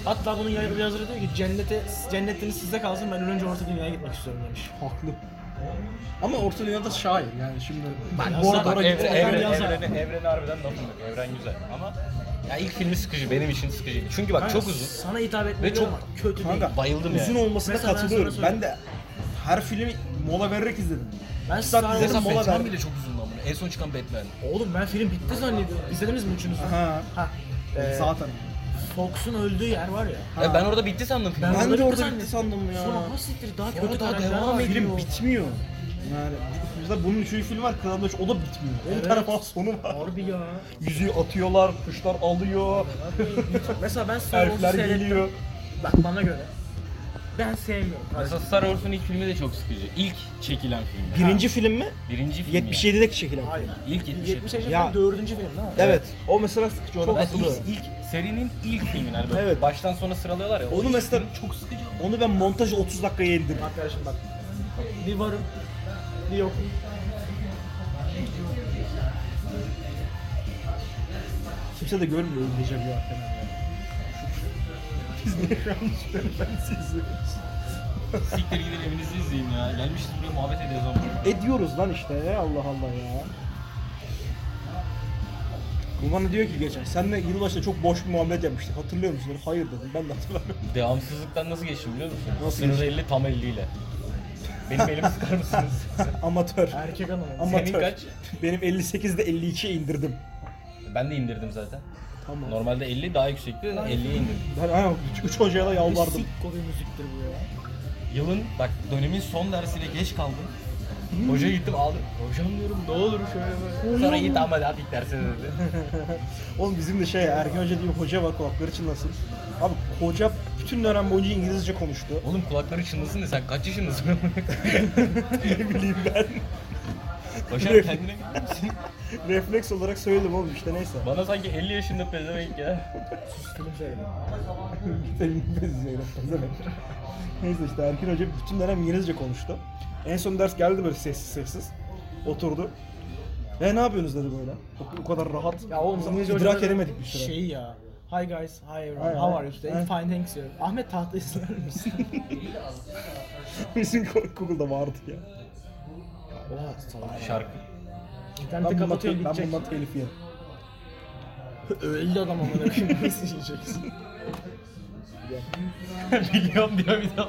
[SPEAKER 3] Hatta bunun yay- yazarı diyor ki cennete, cennetiniz size kalsın ben önce orta dünyaya gitmek istiyorum demiş.
[SPEAKER 2] Haklı. Ama Orta Dünya'da şair yani şimdi.
[SPEAKER 3] Bak,
[SPEAKER 2] bu
[SPEAKER 3] bak,
[SPEAKER 2] arada
[SPEAKER 6] Bak
[SPEAKER 2] oraya
[SPEAKER 6] evre,
[SPEAKER 2] gitmeden
[SPEAKER 6] evre,
[SPEAKER 2] yazar.
[SPEAKER 6] evreni, evreni harbiden lafım yok. Evren güzel ama ya ilk filmi sıkıcı benim için sıkıcıydı. Çünkü bak çok uzun.
[SPEAKER 3] Sana hitap etmiyor
[SPEAKER 6] Ve çok-
[SPEAKER 3] ama kötü
[SPEAKER 2] Kanka
[SPEAKER 3] değil.
[SPEAKER 6] Bayıldım
[SPEAKER 2] uzun
[SPEAKER 6] yani.
[SPEAKER 2] olmasına
[SPEAKER 3] Mesela ben sana
[SPEAKER 2] katılıyorum. Ben,
[SPEAKER 3] söyleyeyim.
[SPEAKER 2] de her filmi mola vererek izledim.
[SPEAKER 3] Ben
[SPEAKER 2] Star
[SPEAKER 3] Star
[SPEAKER 2] Wars'a
[SPEAKER 3] Wars'a
[SPEAKER 6] Mesela
[SPEAKER 2] mola
[SPEAKER 6] Batman
[SPEAKER 2] ver.
[SPEAKER 6] bile çok uzun lan bunu. En son çıkan Batman.
[SPEAKER 3] Oğlum ben film bitti zannediyorum. İzlediniz mi üçünüzü?
[SPEAKER 2] Aha.
[SPEAKER 3] Ha. Ee,
[SPEAKER 2] Zaten.
[SPEAKER 3] Fox'un öldüğü yer var ya.
[SPEAKER 6] Ya ben orada bitti sandım filmi.
[SPEAKER 2] Ben
[SPEAKER 3] orada
[SPEAKER 2] de
[SPEAKER 3] bitti
[SPEAKER 2] orada bitti
[SPEAKER 3] zannettim.
[SPEAKER 2] sandım ya.
[SPEAKER 3] Sonra hastiktir daha
[SPEAKER 6] Sonra
[SPEAKER 3] kötü
[SPEAKER 6] daha
[SPEAKER 3] karakterler
[SPEAKER 6] devam
[SPEAKER 3] var.
[SPEAKER 2] Film bitmiyor. Yani mesela bunun üçüncü film var Kralın Üçü, o da bitmiyor.
[SPEAKER 3] Evet.
[SPEAKER 2] On tane falan sonu var.
[SPEAKER 3] Harbi ya.
[SPEAKER 2] Yüzüğü atıyorlar, kuşlar alıyor,
[SPEAKER 3] Mesela ben Star Wars'u
[SPEAKER 2] elfler
[SPEAKER 3] seyrettim.
[SPEAKER 2] geliyor.
[SPEAKER 3] Bak bana göre. Ben sevmiyorum.
[SPEAKER 6] Mesela Star Wars'un ilk filmi de çok sıkıcı. İlk çekilen film.
[SPEAKER 2] Birinci film mi?
[SPEAKER 6] Birinci film. ya.
[SPEAKER 2] 77'de çekilen.
[SPEAKER 3] Hayır.
[SPEAKER 6] İlk 77.
[SPEAKER 3] 70 yaşında
[SPEAKER 2] Ya.
[SPEAKER 3] dördüncü film değil şey mi?
[SPEAKER 2] Evet. O mesela sıkıcı ona
[SPEAKER 6] Ben
[SPEAKER 2] katılıyorum.
[SPEAKER 6] ilk, ilk serinin ilk filmi. Yani böyle
[SPEAKER 2] Evet.
[SPEAKER 6] Baştan sona sıralıyorlar ya.
[SPEAKER 2] Onu mesela çok sıkıcı. Onu ben montajı 30 dakikaya indirdim.
[SPEAKER 3] Arkadaşım bak. Bir varım, bir yokum.
[SPEAKER 2] Kimse de görmüyor izleyeceğim ya. Biz niye şu an ben izliyoruz?
[SPEAKER 6] Siktir gidin evinizi izleyin ya. Gelmişiz buraya muhabbet ediyoruz ama.
[SPEAKER 2] Ediyoruz lan işte ya Allah Allah ya. Bu bana diyor ki geçen, senle yılbaşında çok boş bir muhabbet yapmıştık. Hatırlıyor musun? Dedim, Hayır dedim, ben de hatırlamıyorum.
[SPEAKER 6] Devamsızlıktan nasıl geçtim biliyor musun?
[SPEAKER 2] Nasıl
[SPEAKER 6] Sınır 50 tam 50 ile. Benim elimi sıkar mısınız?
[SPEAKER 2] Amatör.
[SPEAKER 3] Erkek hanım.
[SPEAKER 2] Ama-
[SPEAKER 6] Senin
[SPEAKER 2] Amatör.
[SPEAKER 6] kaç?
[SPEAKER 2] Benim 58'de 52'ye indirdim.
[SPEAKER 6] Ben de indirdim zaten.
[SPEAKER 2] Tamam.
[SPEAKER 6] Normalde 50 daha yüksekti. 50'ye indirdim.
[SPEAKER 2] Ben aynen 3 hocaya da
[SPEAKER 3] Ne
[SPEAKER 2] yalvardım.
[SPEAKER 3] sikko bir müziktir bu ya.
[SPEAKER 6] Yılın bak dönemin son dersine geç kaldım. Hocaya gittim aldım. Hocam diyorum ne olur şöyle böyle. Sonra git ama hadi ilk derse dedi.
[SPEAKER 2] Oğlum bizim de şey Ergen Hoca diye bir hoca var kulakları çınlasın. Abi hoca bütün dönem boyunca İngilizce konuştu.
[SPEAKER 6] Oğlum kulakları çınlasın da sen kaç yaşındasın?
[SPEAKER 2] ne bileyim ben.
[SPEAKER 6] Başar kendine gelir misin?
[SPEAKER 2] Refleks olarak söyledim oğlum işte neyse.
[SPEAKER 6] Bana sanki 50 yaşında pezevenk ya.
[SPEAKER 3] Sustum seni.
[SPEAKER 2] Senin benziyor demek. Neyse işte Erkin Hoca bütün dönem İngilizce konuştu. En son ders geldi böyle sessiz sessiz. Oturdu. Ve ne yapıyorsunuz dedi böyle. O, o kadar rahat.
[SPEAKER 3] Ya oğlum İngilizce
[SPEAKER 2] idrak
[SPEAKER 3] hocada
[SPEAKER 2] edemedik bir şey.
[SPEAKER 3] Şey ya. Hi guys, hi everyone.
[SPEAKER 2] Hi, hi.
[SPEAKER 3] How are you today?
[SPEAKER 2] Hi.
[SPEAKER 3] Fine thanks you. Ahmet tahta ister misin?
[SPEAKER 2] Bizim Google'da vardı ya.
[SPEAKER 3] Oha salak.
[SPEAKER 6] Şarkı.
[SPEAKER 3] İnterneti
[SPEAKER 2] Ben bundan,
[SPEAKER 3] kapatıyor
[SPEAKER 2] ben
[SPEAKER 3] gidecek.
[SPEAKER 2] bundan telif yerim.
[SPEAKER 3] Öldü adam ama ne koyayım. Nasıl yiyeceksin?
[SPEAKER 6] Biliyorum diyor bir daha.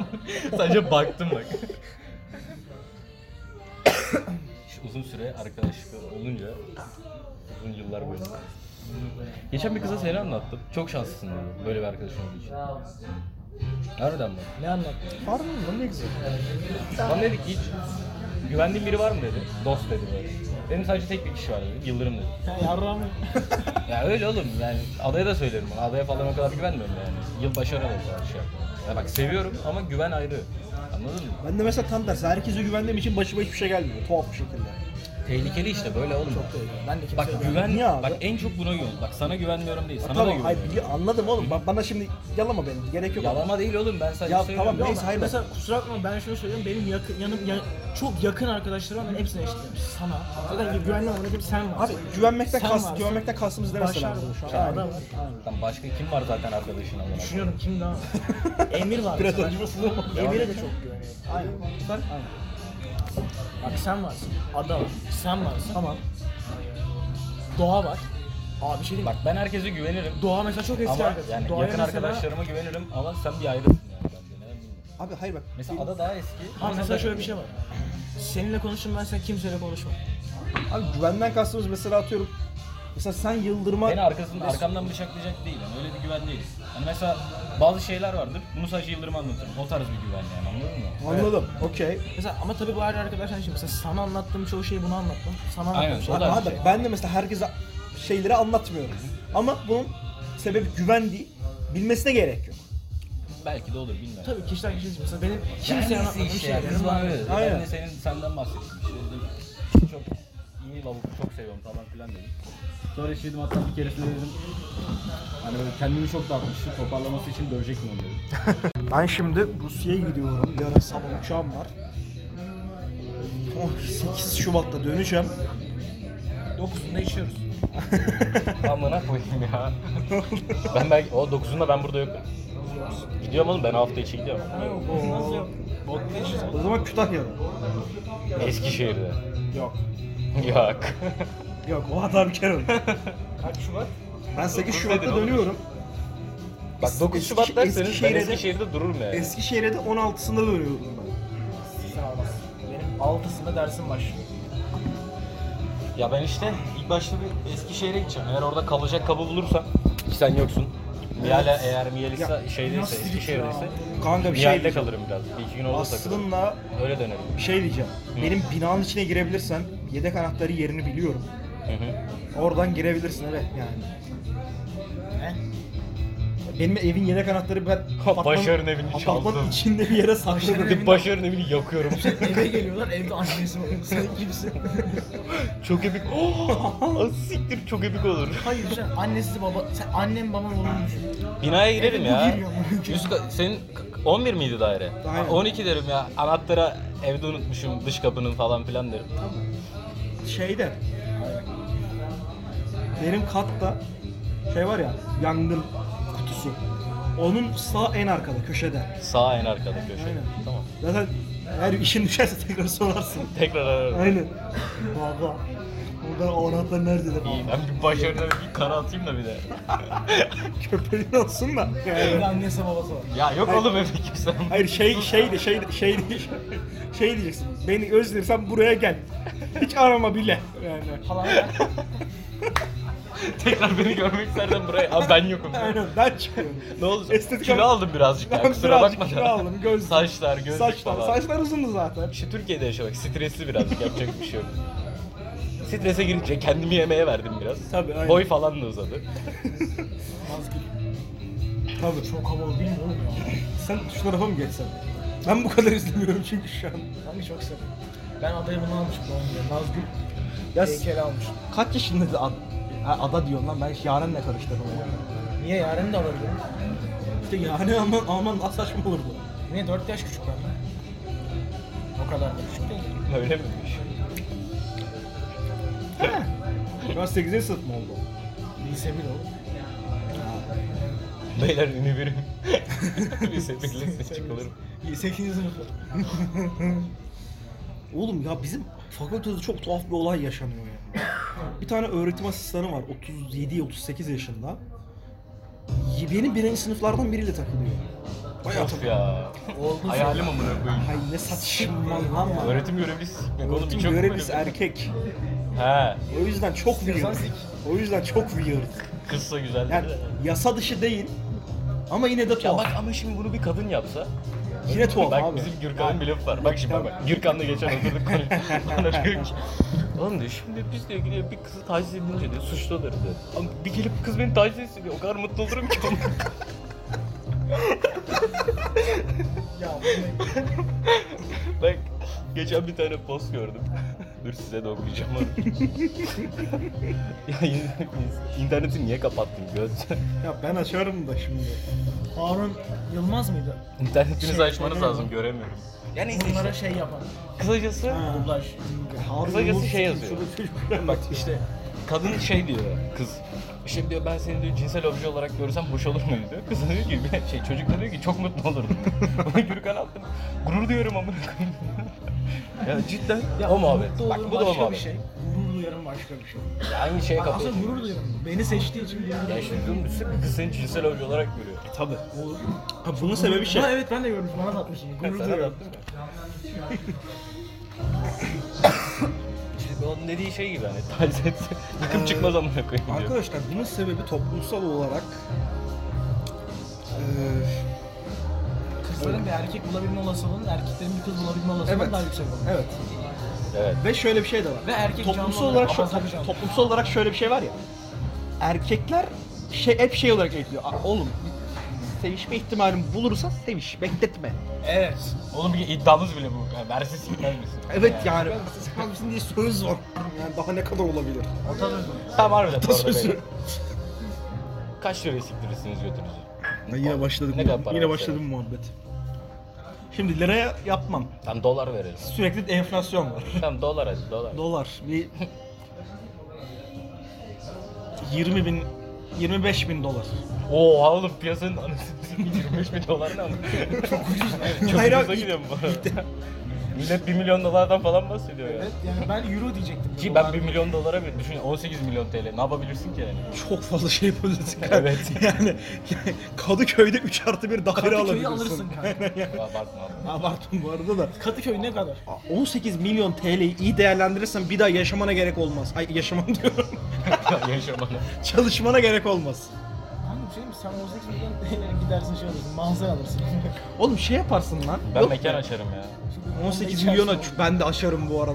[SPEAKER 6] Sadece baktım bak. İşte uzun süre arkadaşlık olunca uzun yıllar boyunca. Geçen bir kıza seni anlattım. Çok şanslısın dedi. Böyle bir arkadaşın olduğu için. Nereden bak?
[SPEAKER 3] Ne anlattın?
[SPEAKER 2] Var mı? Lan ne güzel.
[SPEAKER 6] Bana dedi ki hiç güvendiğin biri var mı dedi. Dost dedi böyle. Benim sadece tek bir kişi var dedi. Yıldırım dedi.
[SPEAKER 3] Ya yarram.
[SPEAKER 6] Ya öyle oğlum yani adaya da söylerim bunu. Adaya falan o kadar güvenmiyorum yani. Yılbaşı aralığı falan şey yapmıyorum. Ya bak seviyorum ama güven ayrı. Anladın mı?
[SPEAKER 2] Ben de mesela tam tersi. Herkese güvendiğim için başıma hiçbir şey gelmiyor. Tuhaf bir şekilde.
[SPEAKER 6] Tehlikeli işte böyle oğlum.
[SPEAKER 3] Ben de kimseye
[SPEAKER 6] Bak
[SPEAKER 3] güvenmiyorum.
[SPEAKER 6] güven,
[SPEAKER 2] Niye abi?
[SPEAKER 6] bak en çok buna güven. Bak sana güvenmiyorum değil,
[SPEAKER 2] Ya
[SPEAKER 6] sana da
[SPEAKER 2] tamam, hayır,
[SPEAKER 6] güvenmiyorum.
[SPEAKER 2] bili- anladım oğlum. Ba- Bana şimdi yalama beni. Gerek yok.
[SPEAKER 6] Yalama değil oğlum ben sadece
[SPEAKER 2] Ya
[SPEAKER 6] söylüyorum.
[SPEAKER 2] tamam,
[SPEAKER 3] Yok,
[SPEAKER 2] Neyse, hayır.
[SPEAKER 3] Mesela kusura bakma ben şunu söylüyorum benim yakın yanım ya- çok yakın arkadaşlarım ben hepsine eşitlerim. Sana. Zaten güvenli olmanı hep sen varsın.
[SPEAKER 2] Abi güvenmekten,
[SPEAKER 3] Sen
[SPEAKER 2] kast,
[SPEAKER 3] varsın.
[SPEAKER 2] güvenmekten kastımız ne mesela?
[SPEAKER 3] Başar
[SPEAKER 2] bu şu an?
[SPEAKER 3] var. Adam var.
[SPEAKER 6] Lan başka kim var zaten arkadaşın olarak?
[SPEAKER 3] Düşünüyorum kim daha var. Emir var.
[SPEAKER 2] Biraz
[SPEAKER 3] mesela.
[SPEAKER 2] acımasız ama.
[SPEAKER 3] Emir'e de çok güveniyorum. Aynen. Sen? Aynen. Bak sen varsın. Ada var. Sen varsın.
[SPEAKER 2] Tamam.
[SPEAKER 3] Doğa var. Abi bir şey diyeyim
[SPEAKER 6] Bak ben herkese güvenirim.
[SPEAKER 3] mi? Doğa mesela çok eski
[SPEAKER 6] Ama
[SPEAKER 3] arkadaşım.
[SPEAKER 6] yani
[SPEAKER 3] Doğa'ya
[SPEAKER 6] yakın
[SPEAKER 3] mesela-
[SPEAKER 6] arkadaşlarıma güvenirim ama sen bir ayrısın yani bence. Neden bilmiyorum.
[SPEAKER 2] Abi hayır bak.
[SPEAKER 6] Mesela ada daha eski.
[SPEAKER 3] Ama
[SPEAKER 6] da-
[SPEAKER 3] mesela şöyle bir şey var. Seninle konuştum ben sen kimseyle konuşmam.
[SPEAKER 2] Abi güvenden kastımız mesela atıyorum. Mesela sen Yıldırım'a...
[SPEAKER 6] Beni arkasından, arkamdan bıçaklayacak değil. Yani öyle bir güven değil. Hani mesela bazı şeyler vardır. Bunu sadece Yıldırım anlatırım. O tarz bir güven yani anladın mı?
[SPEAKER 2] Anladım. Okey.
[SPEAKER 3] Mesela ama tabii bu ayrı arkadaşlar şimdi mesela sana anlattığım çoğu şeyi bunu anlattım. Sana
[SPEAKER 6] Aynen,
[SPEAKER 3] anlattığım şey.
[SPEAKER 6] o
[SPEAKER 2] Abi,
[SPEAKER 6] da-
[SPEAKER 2] abi
[SPEAKER 6] şey.
[SPEAKER 2] ben de mesela herkese şeyleri anlatmıyorum. Ama bunun sebebi güven değil. Bilmesine gerek yok.
[SPEAKER 6] Belki de olur bilmiyorum. şey,
[SPEAKER 3] Tabii kişiden kişiye değişir. mesela benim
[SPEAKER 6] Kimse
[SPEAKER 3] kimseye anlatmadığım
[SPEAKER 6] işte ya,
[SPEAKER 3] şeyler
[SPEAKER 6] kız bana
[SPEAKER 3] var.
[SPEAKER 6] öyle dedi.
[SPEAKER 2] Aynen.
[SPEAKER 6] Ben de senin senden bahsettim. İşte dedim, çok iyi lavuk, çok seviyorum falan filan dedim. Sonra işte dedim hatta bir keresinde dedim. Hani böyle kendimi çok dağıtmıştı. Toparlaması için dövecektim onu dedim.
[SPEAKER 2] Ben şimdi Rusya'ya gidiyorum. Yarın sabah uçağım var. Oh, 8 Şubat'ta döneceğim.
[SPEAKER 3] Dokuzunda içiyoruz.
[SPEAKER 6] Amına koyayım ya. ben belki o 9'unda ben burada yokum. Gidiyorum oğlum ben hafta içi gidiyorum.
[SPEAKER 1] O zaman Kütahya'da.
[SPEAKER 6] Eskişehir'de.
[SPEAKER 2] Yok.
[SPEAKER 6] Yok.
[SPEAKER 2] Yok o hata bir kere oldu.
[SPEAKER 3] Kaç Şubat?
[SPEAKER 2] Ben 8
[SPEAKER 6] Dokuz
[SPEAKER 2] Şubat'ta
[SPEAKER 6] dedin oğlum.
[SPEAKER 2] dönüyorum.
[SPEAKER 6] Bak 9 Şubat derseniz ben
[SPEAKER 2] Eskişehir'de-
[SPEAKER 6] Eskişehir'de dururum yani.
[SPEAKER 2] Eskişehir'e de 16'sında dönüyordum ben.
[SPEAKER 3] Sen almazsın. Benim 6'sında dersim başlıyor.
[SPEAKER 6] Ya ben işte ilk başta bir Eskişehir'e gideceğim. Eğer orada kalacak kabı bulursam ki sen yoksun. Miyala eğer Miyalisa şeydeyse,
[SPEAKER 3] nasıl
[SPEAKER 6] Eskişehir'deyse
[SPEAKER 2] Kanka bir şey
[SPEAKER 6] Miyal'de
[SPEAKER 2] diyeceğim.
[SPEAKER 6] kalırım biraz. Bir iki gün orada takılırım.
[SPEAKER 2] Aslında
[SPEAKER 6] Öyle dönerim.
[SPEAKER 2] bir şey diyeceğim.
[SPEAKER 6] Hı.
[SPEAKER 2] Benim binanın içine girebilirsen yedek anahtarı yerini biliyorum.
[SPEAKER 6] Hı hı.
[SPEAKER 2] Oradan girebilirsin evet yani.
[SPEAKER 3] Ne?
[SPEAKER 2] Benim evin yedek anahtarı ben apartmanın-
[SPEAKER 6] Başarın evini çaldım.
[SPEAKER 2] Apartmanın içinde bir yere sakladım.
[SPEAKER 6] Başarın Başarın evini yakıyorum.
[SPEAKER 3] Eve geliyorlar evde annesi bakıyor. Sen kimsin?
[SPEAKER 6] çok epik. Oh, siktir çok epik olur.
[SPEAKER 3] Hayır sen annesi baba, sen annem babam olur düşün.
[SPEAKER 6] Binaya girerim
[SPEAKER 3] Evet, bu
[SPEAKER 6] ya.
[SPEAKER 3] giriyor bunun içine.
[SPEAKER 6] Üst ka- senin k- 11 miydi daire?
[SPEAKER 2] Aynen.
[SPEAKER 6] Ha, 12 derim ya. Anahtara evde unutmuşum dış kapının falan filan derim.
[SPEAKER 2] şeyde. Benim katta şey var ya yangın kutusu. Onun sağ en arkada köşede.
[SPEAKER 6] Sağ en arkada köşe.
[SPEAKER 2] Aynen.
[SPEAKER 6] Tamam.
[SPEAKER 2] Zaten eğer işin düşerse tekrar sorarsın.
[SPEAKER 6] Tekrar ararım.
[SPEAKER 2] Aynen. Baba. Burada o anahtar nerede de
[SPEAKER 6] İyi, ben bir başarına bir kara atayım da bir de.
[SPEAKER 2] Köpeğin olsun da.
[SPEAKER 3] Evde annesi babası var.
[SPEAKER 6] Ya yok oğlum evde kimse.
[SPEAKER 2] Hayır şey şey de şey de şey de şey diyeceksin. Beni özlersen buraya gel. Hiç arama bile. Yani.
[SPEAKER 3] Falan var.
[SPEAKER 6] Tekrar beni görmek istersen buraya. Abi ben yokum.
[SPEAKER 2] Aynen ben çıkıyorum.
[SPEAKER 6] ne olacak?
[SPEAKER 2] Estetik
[SPEAKER 6] kilo
[SPEAKER 2] ama-
[SPEAKER 6] aldım birazcık ya.
[SPEAKER 2] Ben
[SPEAKER 6] Kusura
[SPEAKER 2] birazcık
[SPEAKER 6] bakma.
[SPEAKER 2] kilo aldım, göz-
[SPEAKER 6] Saçlar, gözlük
[SPEAKER 2] Saçlar,
[SPEAKER 6] falan.
[SPEAKER 2] saçlar uzundu zaten.
[SPEAKER 6] İşte Türkiye'de yaşamak stresli birazcık yapacak bir şey yok. Strese girince kendimi yemeğe verdim biraz.
[SPEAKER 2] Tabii, aynen.
[SPEAKER 6] Boy falan da uzadı.
[SPEAKER 2] Tabii.
[SPEAKER 3] Çok havalı değil mi oğlum ya?
[SPEAKER 2] Sen şu tarafa mı geçsen? Ben bu kadar izlemiyorum çünkü şu an.
[SPEAKER 3] Hangi çok sev. Ben adayı bunu almıştım doğum günü. Nazgül
[SPEAKER 2] Ya
[SPEAKER 3] heykeli almıştım.
[SPEAKER 2] kaç yaşında ad, ada diyorsun lan ben yarenle karıştırdım onu.
[SPEAKER 3] Niye yarın da alabilirim?
[SPEAKER 2] İşte yaren Alman, Alman daha saçma olurdu.
[SPEAKER 3] Niye 4 yaş küçük benden? O kadar da küçük değil.
[SPEAKER 6] Öyle miymiş?
[SPEAKER 2] Ben 8'e sınıf mı oldu?
[SPEAKER 3] Lise 1 oğlum.
[SPEAKER 6] Beyler ünü birim. Lise birliğine çıkılırım.
[SPEAKER 3] 8. sınıf.
[SPEAKER 2] Oğlum ya bizim fakültede çok tuhaf bir olay yaşanıyor ya. bir tane öğretim asistanı var 37-38 yaşında. Benim birinci sınıflardan biriyle takılıyor. Bayağı
[SPEAKER 6] Of ya. Hayalim amına koyayım.
[SPEAKER 2] Ay ne saçmalama.
[SPEAKER 6] Öğretim görevlisi sikmek oğlum.
[SPEAKER 2] Öğretim
[SPEAKER 6] hiç yok mu
[SPEAKER 2] görevlisi
[SPEAKER 6] böyle bir-
[SPEAKER 2] erkek.
[SPEAKER 6] He.
[SPEAKER 2] O yüzden çok
[SPEAKER 3] İstiyorsan
[SPEAKER 2] weird.
[SPEAKER 3] sik.
[SPEAKER 2] O yüzden çok weird.
[SPEAKER 6] Kızsa güzeldi
[SPEAKER 2] Yani
[SPEAKER 6] de.
[SPEAKER 2] yasa dışı değil ama yine de
[SPEAKER 6] Ya
[SPEAKER 2] tuhaf.
[SPEAKER 6] bak ama şimdi bunu bir kadın yapsa.
[SPEAKER 2] Yine tuhaf
[SPEAKER 6] bak
[SPEAKER 2] abi.
[SPEAKER 6] bizim Gürkan'ın bir lafı var. Bak şimdi bak bak. Gürkan'la geçen oturduk konuştuk. Bana diyor ki. Oğlum diyor şimdi biz diyor ki diyor, bir kızı taciz edince diyor suçlu olur diyor. Ama bir gelip kız beni taciz etsin diyor. O kadar mutlu olurum ki.
[SPEAKER 3] Ya bu ne?
[SPEAKER 6] bak geçen bir tane post gördüm. Dur size de okuyacağım onu. ya in- interneti niye kapattın göz?
[SPEAKER 2] Ya ben açarım da şimdi.
[SPEAKER 3] Harun Yılmaz mıydı?
[SPEAKER 6] İnternetinizi
[SPEAKER 3] Şey,
[SPEAKER 6] açmanız
[SPEAKER 3] önemli.
[SPEAKER 6] lazım göremiyoruz. Yani neyse
[SPEAKER 3] Bunlara
[SPEAKER 6] işte.
[SPEAKER 3] şey yapan.
[SPEAKER 6] Kısacası
[SPEAKER 3] Dublaj.
[SPEAKER 6] Kısacası şey yazıyor. Bak işte kadın şey diyor kız. İşte diyor ben seni diyor cinsel obje olarak görsem hoş olur muyum diyor. Kız da diyor ki şey çocuk da diyor ki çok mutlu olurdum. Ona Gürkan attım. Gurur duyuyorum amına koyayım. ya cidden o muhabbet.
[SPEAKER 3] Mutlu
[SPEAKER 6] Bak
[SPEAKER 3] olurum
[SPEAKER 6] bu da o
[SPEAKER 3] başka bir
[SPEAKER 6] muhabbet.
[SPEAKER 3] şey. Gurur duyarım başka bir şey.
[SPEAKER 6] Aynı şeye
[SPEAKER 3] Ben
[SPEAKER 6] kapatıyor.
[SPEAKER 3] aslında gurur duyarım. Beni seçtiği için gurur
[SPEAKER 6] Ya
[SPEAKER 3] duyarım.
[SPEAKER 6] işte diyorum düşünsene kız seni cinsel obje olarak görüyor.
[SPEAKER 2] Tabii. Ha, bunun sebebi şey.
[SPEAKER 3] Ha, evet ben de görmüştüm. Bana da atmışsın.
[SPEAKER 6] Ben
[SPEAKER 3] Gurur
[SPEAKER 6] sana da
[SPEAKER 3] duyarım.
[SPEAKER 6] attım ya. İşte onun dediği şey gibi hani taciz etse
[SPEAKER 3] Ee,
[SPEAKER 6] yıkım çıkmaz amına koyayım diyor.
[SPEAKER 2] Arkadaşlar bunun sebebi toplumsal olarak eee,
[SPEAKER 3] Kızların bir erkek bulabilme olasılığının erkeklerin bir kız bulabilme olasılığından
[SPEAKER 2] Evet.
[SPEAKER 3] daha yüksek olur.
[SPEAKER 2] evet
[SPEAKER 6] Evet.
[SPEAKER 2] ve şöyle bir şey de var.
[SPEAKER 3] Ve erkek
[SPEAKER 2] toplumsal
[SPEAKER 3] canlı
[SPEAKER 2] olarak
[SPEAKER 3] olarak
[SPEAKER 2] şö-
[SPEAKER 3] avantajlı canlı.
[SPEAKER 2] toplumsal olarak şöyle bir şey var ya. Erkekler şey hep şey olarak eğitiliyor. "Aa, Oğlum sevişme ihtimalini bulursa seviş, bekletme.
[SPEAKER 3] Evet.
[SPEAKER 6] Oğlum bir iddiamız bile bu. Yani verse sikmez misin?
[SPEAKER 2] Evet yani. Siz kalmışsın diye söz var. Yani daha ne kadar olabilir?
[SPEAKER 3] Atatürk'ün.
[SPEAKER 6] Tam harbiden bu arada
[SPEAKER 2] Atasözü.
[SPEAKER 6] beyler. Kaç liraya siktirirsiniz götünüzü?
[SPEAKER 2] yine başladık.
[SPEAKER 6] Ne kadar para
[SPEAKER 2] yine
[SPEAKER 6] mesela?
[SPEAKER 2] başladım muhabbet. Şimdi liraya yapmam.
[SPEAKER 6] Tam dolar verelim.
[SPEAKER 2] Sürekli enflasyon var.
[SPEAKER 6] Tam dolar hadi dolar.
[SPEAKER 2] Dolar. Bir
[SPEAKER 1] 20 bin 25 bin dolar.
[SPEAKER 6] Oha oğlum piyasanın anasını satayım, 25 bin dolar ne ama? Çok ucuz. Çok
[SPEAKER 3] Hayır
[SPEAKER 6] ucuza
[SPEAKER 3] abi,
[SPEAKER 6] gidiyor bu arada. Millet 1 milyon dolardan falan bahsediyor ya.
[SPEAKER 3] Evet yani ben euro diyecektim.
[SPEAKER 6] Ki ben 1 milyon dolara bir düşün 18 milyon TL ne yapabilirsin ki yani?
[SPEAKER 2] Çok fazla şey yapabilirsin.
[SPEAKER 6] Evet.
[SPEAKER 2] yani, yani Kadıköy'de 3 artı 1 daire
[SPEAKER 3] Kadıköy'ü
[SPEAKER 2] alabilirsin.
[SPEAKER 3] alırsın kanka.
[SPEAKER 6] Abartma abi.
[SPEAKER 2] Abarttım bu arada da.
[SPEAKER 3] Kadıköy ne kadar?
[SPEAKER 2] 18 milyon TL'yi iyi değerlendirirsen bir daha yaşamana gerek olmaz. Ay yaşamam diyorum.
[SPEAKER 6] Ya Yaşamana.
[SPEAKER 2] Çalışmana gerek olmaz.
[SPEAKER 3] Hangi bir şey mi? Sen 18 milyon TL'ye gidersin şey alırsın, manzara alırsın.
[SPEAKER 2] Oğlum şey yaparsın lan.
[SPEAKER 6] Ben
[SPEAKER 2] Yok
[SPEAKER 6] mekan
[SPEAKER 2] be.
[SPEAKER 6] açarım ya.
[SPEAKER 2] 18
[SPEAKER 3] İçersin
[SPEAKER 2] milyona
[SPEAKER 3] onu.
[SPEAKER 2] ben de aşarım bu arada.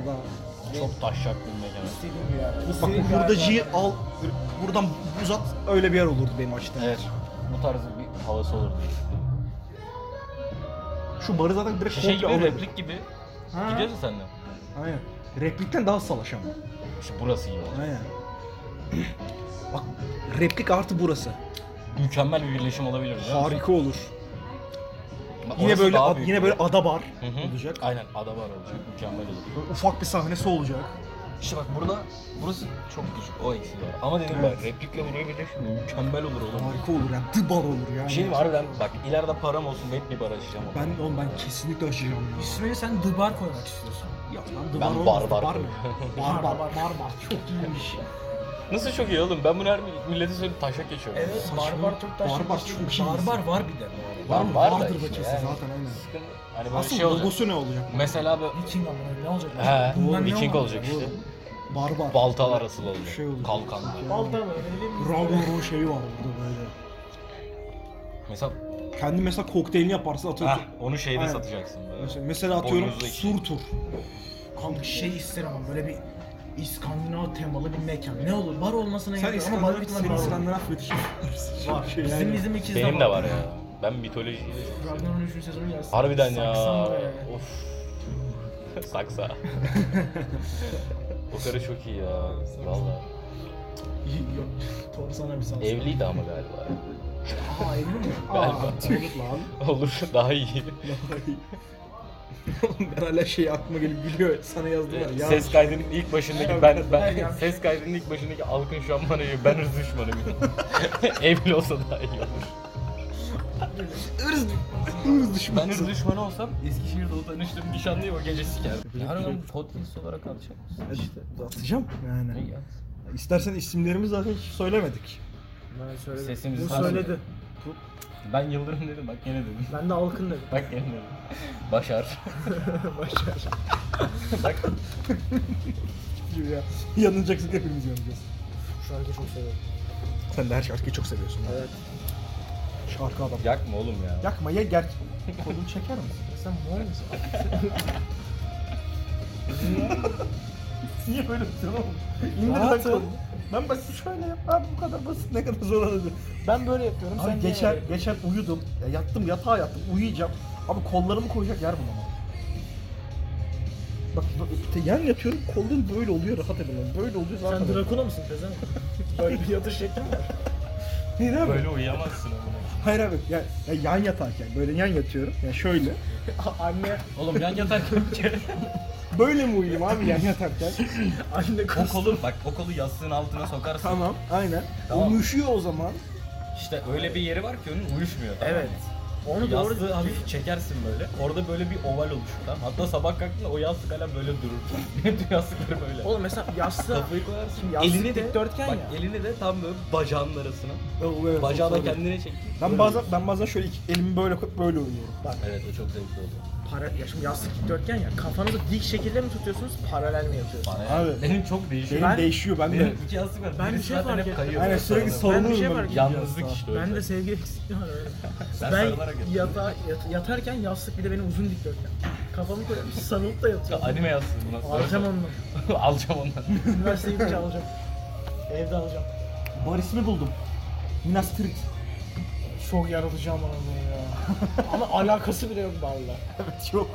[SPEAKER 6] Çok taşak bir mekan.
[SPEAKER 3] İstediğin bir yer.
[SPEAKER 2] Bak
[SPEAKER 3] İstediğin bir yer.
[SPEAKER 2] hurdacıyı al, buradan uzat öyle bir yer olurdu benim açtığım.
[SPEAKER 6] Evet. Bu tarz bir havası olurdu.
[SPEAKER 2] Şu barı zaten direkt
[SPEAKER 6] Şey gibi
[SPEAKER 2] komple alırdı.
[SPEAKER 6] replik gibi.
[SPEAKER 2] Ha.
[SPEAKER 6] Gidiyoruz ya seninle.
[SPEAKER 2] Aynen. Replikten daha salaş ama.
[SPEAKER 6] İşte burası gibi.
[SPEAKER 2] Aynen. Bak replik artı burası.
[SPEAKER 6] Mükemmel bir birleşim olabilir. biliyor musun?
[SPEAKER 2] Harika olur.
[SPEAKER 6] Bak
[SPEAKER 2] Yine
[SPEAKER 6] orası
[SPEAKER 2] böyle
[SPEAKER 6] daha
[SPEAKER 2] ad-
[SPEAKER 6] büyük.
[SPEAKER 2] yine böyle ada bar
[SPEAKER 6] Hı hı.
[SPEAKER 2] olacak.
[SPEAKER 6] Aynen ada var olacak. Mükemmel olur.
[SPEAKER 2] Böyle ufak bir sahnesi olacak.
[SPEAKER 6] İşte bak burada burası çok küçük. O eksiği var. Ama dedim
[SPEAKER 2] Evet.
[SPEAKER 6] bak replikle burayı birleştirme. Mükemmel olur oğlum.
[SPEAKER 2] Harika olur yani. The bar olur yani.
[SPEAKER 6] Bir şey var ben bak ileride param olsun hep bir bar açacağım. ama.
[SPEAKER 2] Ben oğlum ben kesinlikle aşacağım ya.
[SPEAKER 3] İsmini sen The Bar koymak istiyorsun.
[SPEAKER 2] Ya lan The
[SPEAKER 6] Ben
[SPEAKER 2] Bar
[SPEAKER 6] bar
[SPEAKER 2] olmaz,
[SPEAKER 6] bar
[SPEAKER 2] Bar mı? Bar bar.
[SPEAKER 3] Bar Bar. Çok iyiymiş.
[SPEAKER 6] Nasıl çok iyi oğlum? Ben bunu her millete söyleyip taşak geçiyorum.
[SPEAKER 3] Evet
[SPEAKER 2] Saçma.
[SPEAKER 3] Bar Bar çok daha
[SPEAKER 2] Bar Bar
[SPEAKER 3] şey.
[SPEAKER 2] çok iyi.
[SPEAKER 3] Bar Bar var bir de.
[SPEAKER 6] Var
[SPEAKER 2] mı?
[SPEAKER 6] var da
[SPEAKER 2] Vardır da
[SPEAKER 6] işte
[SPEAKER 2] kesin
[SPEAKER 6] yani.
[SPEAKER 2] zaten aynen.
[SPEAKER 6] Sıkıntı. Hani böyle
[SPEAKER 2] Asıl
[SPEAKER 6] şey olacak.
[SPEAKER 2] logosu ne olacak?
[SPEAKER 6] Mesela böyle
[SPEAKER 3] Viking ama ne olacak?
[SPEAKER 6] He,
[SPEAKER 3] Bundan ne
[SPEAKER 6] Viking
[SPEAKER 3] olur?
[SPEAKER 6] olacak işte.
[SPEAKER 2] Bar bar.
[SPEAKER 6] Baltalar asıl olacak.
[SPEAKER 2] Şey olacak.
[SPEAKER 6] Kalkanlar.
[SPEAKER 3] Balta mı? Öyle mi?
[SPEAKER 2] Ragnarok'un şeyi var burada böyle.
[SPEAKER 6] Mesela
[SPEAKER 2] Kendi mesela kokteylini yaparsın
[SPEAKER 6] heh,
[SPEAKER 2] atıyorsun.
[SPEAKER 6] onu şeyde
[SPEAKER 2] Aynen.
[SPEAKER 6] satacaksın böyle.
[SPEAKER 2] Mesela, mesela atıyorum
[SPEAKER 6] Boynuzlu iki.
[SPEAKER 2] sur tur.
[SPEAKER 3] Kanka şey isterim ama böyle bir İskandinav temalı bir mekan. Ne olur? Bar olmasına
[SPEAKER 2] Sen
[SPEAKER 3] gerek yok ama bar
[SPEAKER 2] İskandinav,
[SPEAKER 3] bitmez
[SPEAKER 2] senin
[SPEAKER 3] bar olur.
[SPEAKER 2] İskandinav fetişin
[SPEAKER 3] Var.
[SPEAKER 2] Şey
[SPEAKER 3] bizim
[SPEAKER 2] yani.
[SPEAKER 3] bizim ikizde
[SPEAKER 6] Benim de var ya. Ben mitoloji.
[SPEAKER 3] Ragnarok'un 3. sezonu gelsin.
[SPEAKER 6] Harbiden ya.
[SPEAKER 3] Saksan be.
[SPEAKER 6] Of. Saksa. o karı çok iyi ya. Valla.
[SPEAKER 3] Yok. Torsana bir saksan.
[SPEAKER 6] Evliydi ama galiba.
[SPEAKER 3] Aa evli mi?
[SPEAKER 6] Galiba.
[SPEAKER 2] Tüh lan.
[SPEAKER 6] Olur daha iyi.
[SPEAKER 2] Oğlum ben hala şey aklıma gelip gülüyor. Sana yazdım var ya.
[SPEAKER 6] ses kaydının ilk başındaki ben ben ses kaydının ilk başındaki Alkın şu an bana diyor, ben hırs düşmanıyım. Evli olsa daha iyi olur.
[SPEAKER 2] Irz, ırz
[SPEAKER 6] Ben
[SPEAKER 2] düşmanı.
[SPEAKER 6] hırs düşmanı olsam Eskişehir'de o tanıştığım nişanlıyı o gece sikerdim. Yarın podcast olarak alacak mısın?
[SPEAKER 2] İşte atacağım yani.
[SPEAKER 6] İyi ya.
[SPEAKER 2] İstersen isimlerimizi zaten hiç söylemedik.
[SPEAKER 3] Ben söyledim.
[SPEAKER 6] Sesimizi
[SPEAKER 3] Bu
[SPEAKER 6] sarsın.
[SPEAKER 3] söyledi.
[SPEAKER 6] Ben Yıldırım dedim bak yine dedim.
[SPEAKER 3] Ben de halkın dedim.
[SPEAKER 6] Bak yine dedim. Başar.
[SPEAKER 3] Başar.
[SPEAKER 6] bak
[SPEAKER 2] Ya. Yanılacaksın hepimiz yanacağız.
[SPEAKER 3] Şu şarkıyı çok seviyorum.
[SPEAKER 2] Sen de her şarkıyı çok seviyorsun.
[SPEAKER 3] Evet.
[SPEAKER 2] Şarkı adam.
[SPEAKER 6] yakma oğlum ya.
[SPEAKER 2] Yakma ya ger... Kolunu çeker misin?
[SPEAKER 3] Sen mor musun?
[SPEAKER 2] Niye böyle bir şey oğlum? İndir
[SPEAKER 3] Rahat
[SPEAKER 2] lan
[SPEAKER 3] ol.
[SPEAKER 2] kolunu. Ben bak şöyle yap. Abi bu kadar basit ne kadar zor olabilir.
[SPEAKER 3] Ben böyle yapıyorum.
[SPEAKER 2] Abi
[SPEAKER 3] sen
[SPEAKER 2] geçen,
[SPEAKER 3] niye böyle-
[SPEAKER 2] geçen uyudum. Ya yattım yatağa yattım. Uyuyacağım. Abi kollarımı koyacak yer bulamadım. Bak bu- te- yan yatıyorum kollarım böyle oluyor rahat edemem. Böyle oluyor zaten.
[SPEAKER 3] Sen Drakuna mısın pezen? Böyle bir yatış şekli mi var?
[SPEAKER 2] Hayır abi.
[SPEAKER 6] Böyle uyuyamazsın amına.
[SPEAKER 2] Hayır abi. Ya, ya yan yatarken böyle yan yatıyorum. Ya şöyle.
[SPEAKER 3] Anne,
[SPEAKER 6] Oğlum yan yatarken bir kere
[SPEAKER 2] Böyle mi uyuyayım abi yan yatarken?
[SPEAKER 3] anne
[SPEAKER 6] o
[SPEAKER 3] kız.
[SPEAKER 6] kolu bak o kolu yastığın altına sokarsın.
[SPEAKER 2] tamam. Aynen.
[SPEAKER 6] Tamam.
[SPEAKER 2] O üşüyor o zaman.
[SPEAKER 6] İşte öyle bir yeri var ki onun uyuşmuyor. tamam mı?
[SPEAKER 3] Evet. Onu doğru
[SPEAKER 6] Yastığı hafif çekersin böyle. Orada böyle bir oval oluşur. Tamam. Hatta sabah kalktığında o yastık hala böyle durur. Bütün yastıkları böyle.
[SPEAKER 3] Oğlum mesela yastığa
[SPEAKER 6] Kafayı koyarsın.
[SPEAKER 3] Şimdi yastık dikdörtgen
[SPEAKER 6] bak,
[SPEAKER 3] ya.
[SPEAKER 6] elini de tam böyle bacağının arasına.
[SPEAKER 2] Evet,
[SPEAKER 6] Bacağına
[SPEAKER 2] çok zor.
[SPEAKER 6] kendine çektin.
[SPEAKER 2] Ben bazen ben bazen şöyle iki- elimi böyle koyup böyle uyuyorum. Bak.
[SPEAKER 6] Evet o çok zevkli oldu.
[SPEAKER 3] para ya şimdi yastık dikdörtgen ya kafanızı dik şekilde mi tutuyorsunuz paralel mi yatıyorsunuz?
[SPEAKER 6] Bana
[SPEAKER 2] Abi.
[SPEAKER 6] yani. Hani Benim çok değişiyor.
[SPEAKER 2] Benim
[SPEAKER 3] Ben-
[SPEAKER 2] değişiyor ben de.
[SPEAKER 6] Benim iki yastık var.
[SPEAKER 3] Ben
[SPEAKER 6] Birisi
[SPEAKER 3] bir şey
[SPEAKER 6] zaten
[SPEAKER 3] fark
[SPEAKER 6] hep
[SPEAKER 3] ettim.
[SPEAKER 6] kayıyor.
[SPEAKER 2] Aynen sürekli
[SPEAKER 6] Sarılarak.
[SPEAKER 2] savunuyorum
[SPEAKER 3] şey
[SPEAKER 2] ben.
[SPEAKER 3] fark ettim.
[SPEAKER 6] Yalnızlık işte o
[SPEAKER 3] Ben
[SPEAKER 6] yüzden.
[SPEAKER 3] de sevgi eksikliği var öyle. ben
[SPEAKER 6] Ben sarılarak yatıyorum.
[SPEAKER 3] yatağa, yat- yatarken yastık bir de benim uzun dikdörtgen. Kafamı koyup sarılıp da yatıyorum.
[SPEAKER 6] Anime yastığı bunlar.
[SPEAKER 3] Alacağım onu.
[SPEAKER 6] Alacağım ondan.
[SPEAKER 3] Üniversiteye gidince alacağım. Evde alacağım.
[SPEAKER 2] Bar ismi buldum. Minas Tirith.
[SPEAKER 3] Çok yaralayacağım onu ya. Ama alakası bile yok barla.
[SPEAKER 2] Evet yok.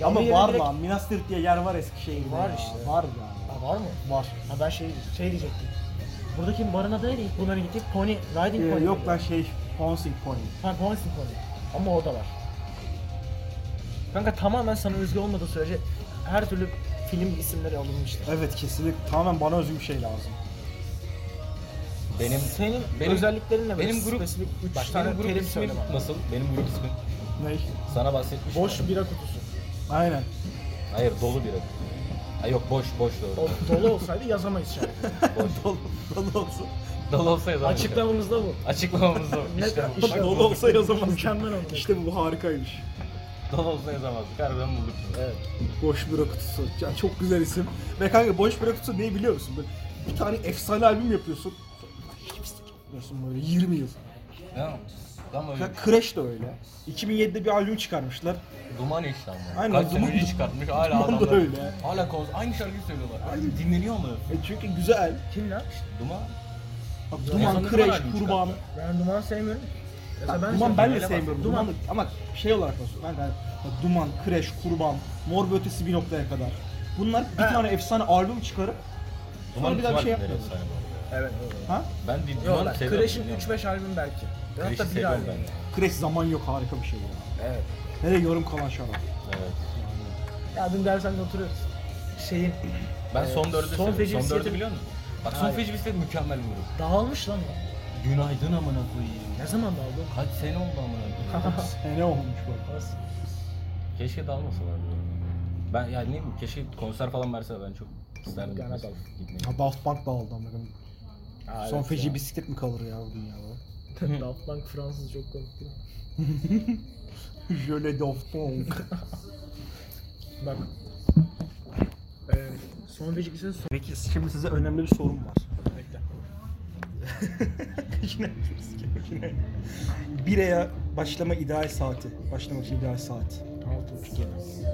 [SPEAKER 3] Ya
[SPEAKER 2] Ama
[SPEAKER 3] bir yere
[SPEAKER 2] var
[SPEAKER 3] direkt-
[SPEAKER 2] lan. Minas Tirith diye yer var Eskişehir'de.
[SPEAKER 3] Var
[SPEAKER 2] ya.
[SPEAKER 3] işte.
[SPEAKER 2] Var ya.
[SPEAKER 3] Ha, var mı?
[SPEAKER 2] Var.
[SPEAKER 3] Ha ben şey, şey diyecektim. Buradaki barın adı neydi? Bunların gittik Pony, Riding
[SPEAKER 2] Ee,
[SPEAKER 3] Pony.
[SPEAKER 2] yok
[SPEAKER 3] miydi?
[SPEAKER 2] lan şey Ponsing Pony.
[SPEAKER 3] Ha Pony Pony. Ama orada var. Kanka tamamen sana özgü olmadığı sürece her türlü film isimleri alınmıştır.
[SPEAKER 2] Evet kesinlikle tamamen bana özgü bir şey lazım.
[SPEAKER 6] Benim
[SPEAKER 3] Senin
[SPEAKER 6] benim,
[SPEAKER 3] özelliklerin ne? böyle?
[SPEAKER 6] benim grup
[SPEAKER 3] Spesifik üç
[SPEAKER 6] bak,
[SPEAKER 3] tane
[SPEAKER 6] benim grup
[SPEAKER 3] terim
[SPEAKER 6] ismi
[SPEAKER 3] söyle bana.
[SPEAKER 6] nasıl? Benim grup ismi
[SPEAKER 2] Ney?
[SPEAKER 6] sana bahsetmiştim.
[SPEAKER 3] Boş bira kutusu.
[SPEAKER 2] Aynen.
[SPEAKER 6] Hayır dolu bir. Ha yok boş boş doğru.
[SPEAKER 3] O dolu olsaydı yazamayız şarkı.
[SPEAKER 6] boş.
[SPEAKER 2] Dolu, dolu olsun.
[SPEAKER 6] dolu olsaydı abi.
[SPEAKER 3] Açıklamamız da bu.
[SPEAKER 6] Açıklamamız o.
[SPEAKER 3] Ne-
[SPEAKER 6] İşte bu.
[SPEAKER 3] işte
[SPEAKER 2] Dolu olsa yazamaz.
[SPEAKER 3] Mükemmel oldu.
[SPEAKER 2] İşte bu harikaymış.
[SPEAKER 6] Dolu olsa yazamazdık. Harbiden bulduk.
[SPEAKER 3] Evet.
[SPEAKER 2] Boş Bira Kutusu. Ya çok güzel isim. Ve kanka Boş Bira Kutusu neyi biliyor musun? Böyle bir tane efsane albüm yapıyorsun. Hiçbir şey yapmıyorsun böyle 20 yıl.
[SPEAKER 6] Ya, Tam öyle.
[SPEAKER 2] Ya Crash de öyle. 2007'de bir albüm çıkarmışlar.
[SPEAKER 6] Duman işte ama.
[SPEAKER 2] Aynen,
[SPEAKER 6] Kaç sene
[SPEAKER 2] Duman-
[SPEAKER 6] önce çıkartmış hala
[SPEAKER 2] Duman da
[SPEAKER 6] adamlar.
[SPEAKER 2] öyle.
[SPEAKER 6] Hala konuş. Aynı şarkıyı söylüyorlar. Aynı dinleniyor mu?
[SPEAKER 2] E çünkü güzel.
[SPEAKER 3] Kim lan?
[SPEAKER 6] Duman.
[SPEAKER 2] Bak,
[SPEAKER 6] En
[SPEAKER 2] Duman,
[SPEAKER 6] sonunda
[SPEAKER 2] Crash,
[SPEAKER 6] albüm
[SPEAKER 2] Kurban.
[SPEAKER 6] çıkarttı.
[SPEAKER 3] Ben duman sevmiyorum. Mesela
[SPEAKER 2] Ben Duman ben de sevmiyorum.
[SPEAKER 3] şey Duman.
[SPEAKER 2] Duman da- ama şey olarak nasıl? Ben de bak Duman, Crash, Kurban, Mor ve Ötesi bir noktaya kadar. Bunlar bir
[SPEAKER 3] Ha.
[SPEAKER 2] tane efsane albüm çıkarıp
[SPEAKER 6] Duman
[SPEAKER 2] Sonra bir daha bir şey
[SPEAKER 6] Duman
[SPEAKER 2] yapmıyorlar.
[SPEAKER 6] efsane bu arada.
[SPEAKER 3] Evet. evet.
[SPEAKER 2] ha?
[SPEAKER 6] Ben değil.
[SPEAKER 3] Yok
[SPEAKER 6] Duman
[SPEAKER 3] lan.
[SPEAKER 6] seviyorum.
[SPEAKER 3] Crash'in
[SPEAKER 6] dinliyorum.
[SPEAKER 3] 3-5 albüm belki.
[SPEAKER 6] Crash'i
[SPEAKER 3] Hatta bir
[SPEAKER 6] seviyorum
[SPEAKER 3] albüm.
[SPEAKER 6] ben. de.
[SPEAKER 2] Crash zaman yok harika bir şey ya.
[SPEAKER 3] Evet.
[SPEAKER 2] Hele yorum kalan şarap.
[SPEAKER 6] Evet.
[SPEAKER 3] Ya dün dershanede oturuyoruz. Şeyin
[SPEAKER 6] Ben
[SPEAKER 3] Ee,
[SPEAKER 6] son dördü
[SPEAKER 3] son
[SPEAKER 6] son
[SPEAKER 3] feci
[SPEAKER 6] Son dördü
[SPEAKER 3] bisikletim-
[SPEAKER 6] biliyor musun? Bak son
[SPEAKER 3] Hayır.
[SPEAKER 6] feci bisiklet mükemmel bir grup.
[SPEAKER 3] dağılmış lan o.
[SPEAKER 6] Günaydın amına koyayım.
[SPEAKER 3] Ne zaman dağıldı? o?
[SPEAKER 6] Kaç sene oldu amına koyayım.
[SPEAKER 2] E ne olmuş bu?
[SPEAKER 3] Nasıl?
[SPEAKER 6] keşke dalmasalar bu arada. Ben yani ne bileyim keşke konser falan verse ben çok isterdim.
[SPEAKER 3] Yani
[SPEAKER 6] gitmesi-
[SPEAKER 3] adam.
[SPEAKER 6] gitmeyi.
[SPEAKER 2] Ya Daft Punk da aldı amına koyayım.
[SPEAKER 3] Aa,
[SPEAKER 2] Son
[SPEAKER 3] evet
[SPEAKER 2] feci
[SPEAKER 3] ya.
[SPEAKER 2] bisiklet mi kalır ya bu dünyada?
[SPEAKER 3] Daft Punk Fransız çok komik değil mi?
[SPEAKER 2] Jöle Daft Punk.
[SPEAKER 3] Bak. Ee, son feci bisiklet son.
[SPEAKER 2] Peki şimdi size önemli bir sorum var.
[SPEAKER 3] Bekle.
[SPEAKER 2] Yine yine. Biraya başlama ideal saati. Başlamak için ideal saat.
[SPEAKER 3] 6.30 yedi.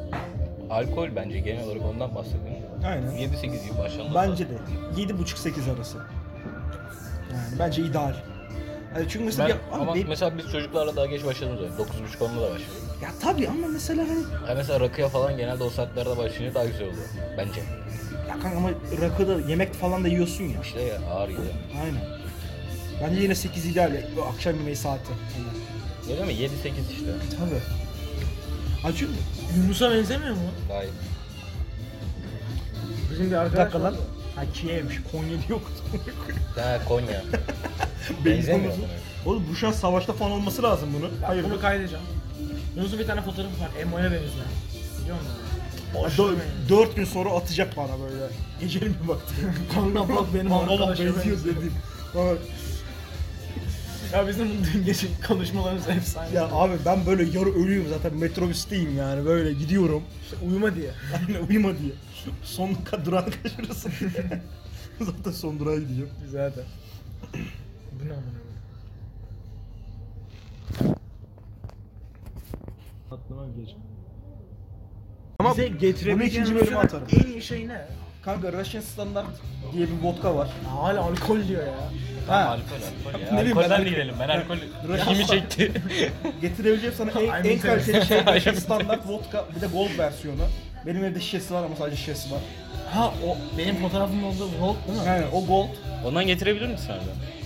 [SPEAKER 6] Alkol bence genel olarak ondan bahsediyorum.
[SPEAKER 2] Aynen.
[SPEAKER 6] 7-8 gibi başlanmalı.
[SPEAKER 2] Bence de 7.30-8 arası. Yani bence ideal. Yani çünkü mesela
[SPEAKER 6] Ben-
[SPEAKER 2] ya, abi
[SPEAKER 6] ama
[SPEAKER 2] benim-
[SPEAKER 6] mesela biz çocuklarla daha geç başladığımız öyle. 9.30 konuda da başlıyoruz.
[SPEAKER 2] ya tabii ama mesela hani
[SPEAKER 6] Yani mesela rakıya falan genelde o saatlerde başlayınca daha güzel oluyor. Bence.
[SPEAKER 2] ya kanka ama rakıda yemek falan da yiyorsun ya.
[SPEAKER 6] İşte ya, Şey, ağır gidiyor.
[SPEAKER 2] Aynen. Bence yine 8 ideal ya, bu akşam yemeği saati. Yani.
[SPEAKER 6] Ne değil mi? 7-8 işte.
[SPEAKER 2] Tabii. Ha çünkü
[SPEAKER 3] Yunus'a benzemiyor mu?
[SPEAKER 6] Gayet.
[SPEAKER 3] Bizim bir
[SPEAKER 2] bir
[SPEAKER 3] arkadaş
[SPEAKER 2] dakika lan.
[SPEAKER 3] vardı.
[SPEAKER 2] Ha Kiev'miş. Konya'da yoktu.
[SPEAKER 6] Ha Konya.
[SPEAKER 2] Benzemiyor.
[SPEAKER 6] Benzemiyor. sana.
[SPEAKER 2] Oğlum bu şu an savaşta falan olması lazım bunu.
[SPEAKER 3] Ya,
[SPEAKER 2] Hayır.
[SPEAKER 3] Bunu kaydedeceğim. Yunus'un bir tane fotoğrafı var. Emo'ya benziyor. Biliyor musun?
[SPEAKER 2] Boş. 4 gün sonra atacak bana böyle. Gecenin bir baktı.
[SPEAKER 3] Kanka bak benim
[SPEAKER 2] Mangal'a
[SPEAKER 3] arkadaşım.
[SPEAKER 2] benziyor dedim. Bak,
[SPEAKER 3] Ya bizim bu dün gece konuşmalarımız efsane.
[SPEAKER 2] Ya abi ben böyle yarı ölüyüm zaten metrobüsteyim yani böyle gidiyorum.
[SPEAKER 3] İşte uyuma diye.
[SPEAKER 2] Aynen uyuma diye. Son dakika durağı kaçırırsın diye. zaten son durağa gideceğim.
[SPEAKER 3] Güzel de. Bu ne amına koyayım?
[SPEAKER 2] Aklıma gelecek.
[SPEAKER 3] Bize getirebileceğin
[SPEAKER 2] bunu ikinci bölüme
[SPEAKER 3] Rusya'nın
[SPEAKER 2] atarım.
[SPEAKER 3] En iyi şey ne?
[SPEAKER 2] Kanka Russian Standard diye bir vodka var.
[SPEAKER 3] Hala alkol diyor ya.
[SPEAKER 2] Ha,
[SPEAKER 6] Alkol, alkol ya.
[SPEAKER 2] Ne bileyim ben
[SPEAKER 6] Alkolden
[SPEAKER 2] alkol-
[SPEAKER 6] gidelim. Ben alkol
[SPEAKER 2] Biraz-
[SPEAKER 6] kimi çekti.
[SPEAKER 2] getirebileceğim sana en, en
[SPEAKER 3] Aynen.
[SPEAKER 2] kaliteli şey Russian Standard vodka bir de gold versiyonu. Benim evde şişesi var ama sadece şişesi var.
[SPEAKER 3] Ha o benim fotoğrafımda olduğu Volt değil mi?
[SPEAKER 2] Yani o gold
[SPEAKER 6] Ondan getirebilir misin abi?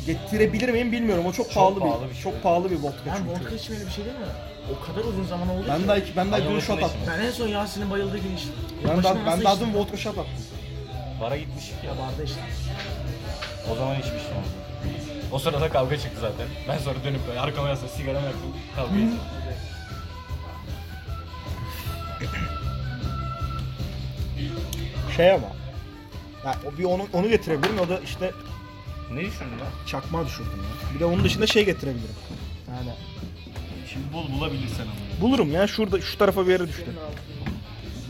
[SPEAKER 2] getirebilir miyim bilmiyorum. O çok, pahalı,
[SPEAKER 6] pahalı
[SPEAKER 2] bir,
[SPEAKER 6] bir şey.
[SPEAKER 2] çok pahalı bir vodka
[SPEAKER 3] Ben
[SPEAKER 2] çünkü.
[SPEAKER 3] vodka içmeyeli bir şey değil mi? O kadar uzun zaman oldu
[SPEAKER 2] Ben
[SPEAKER 3] ki.
[SPEAKER 2] daha ben daha
[SPEAKER 6] Ay,
[SPEAKER 2] dün
[SPEAKER 6] orasını
[SPEAKER 2] shot
[SPEAKER 6] da
[SPEAKER 2] attım.
[SPEAKER 3] Ben en son Yasin'in bayıldığı gün içtim.
[SPEAKER 2] Ben
[SPEAKER 3] Başına
[SPEAKER 2] daha
[SPEAKER 3] nasıl
[SPEAKER 2] ben daha
[SPEAKER 3] içtim?
[SPEAKER 2] dün vodka shot attım.
[SPEAKER 6] Para gitmiş ya.
[SPEAKER 3] Ya barda içtim.
[SPEAKER 6] O zaman içmiştim. O sırada kavga çıktı zaten. Ben sonra dönüp böyle arkama yasla sigaramı yaktım. Kavga ettim.
[SPEAKER 2] Şey ama. Ya o bir onu onu getirebilirim o da işte
[SPEAKER 6] Ne düşündün lan?
[SPEAKER 2] çakma düşürdüm ya. Bir de onun dışında şey getirebilirim. Yani
[SPEAKER 6] Şimdi bol bulabilirsen ama.
[SPEAKER 2] bulurum ya şurada şu tarafa bir yere düştü.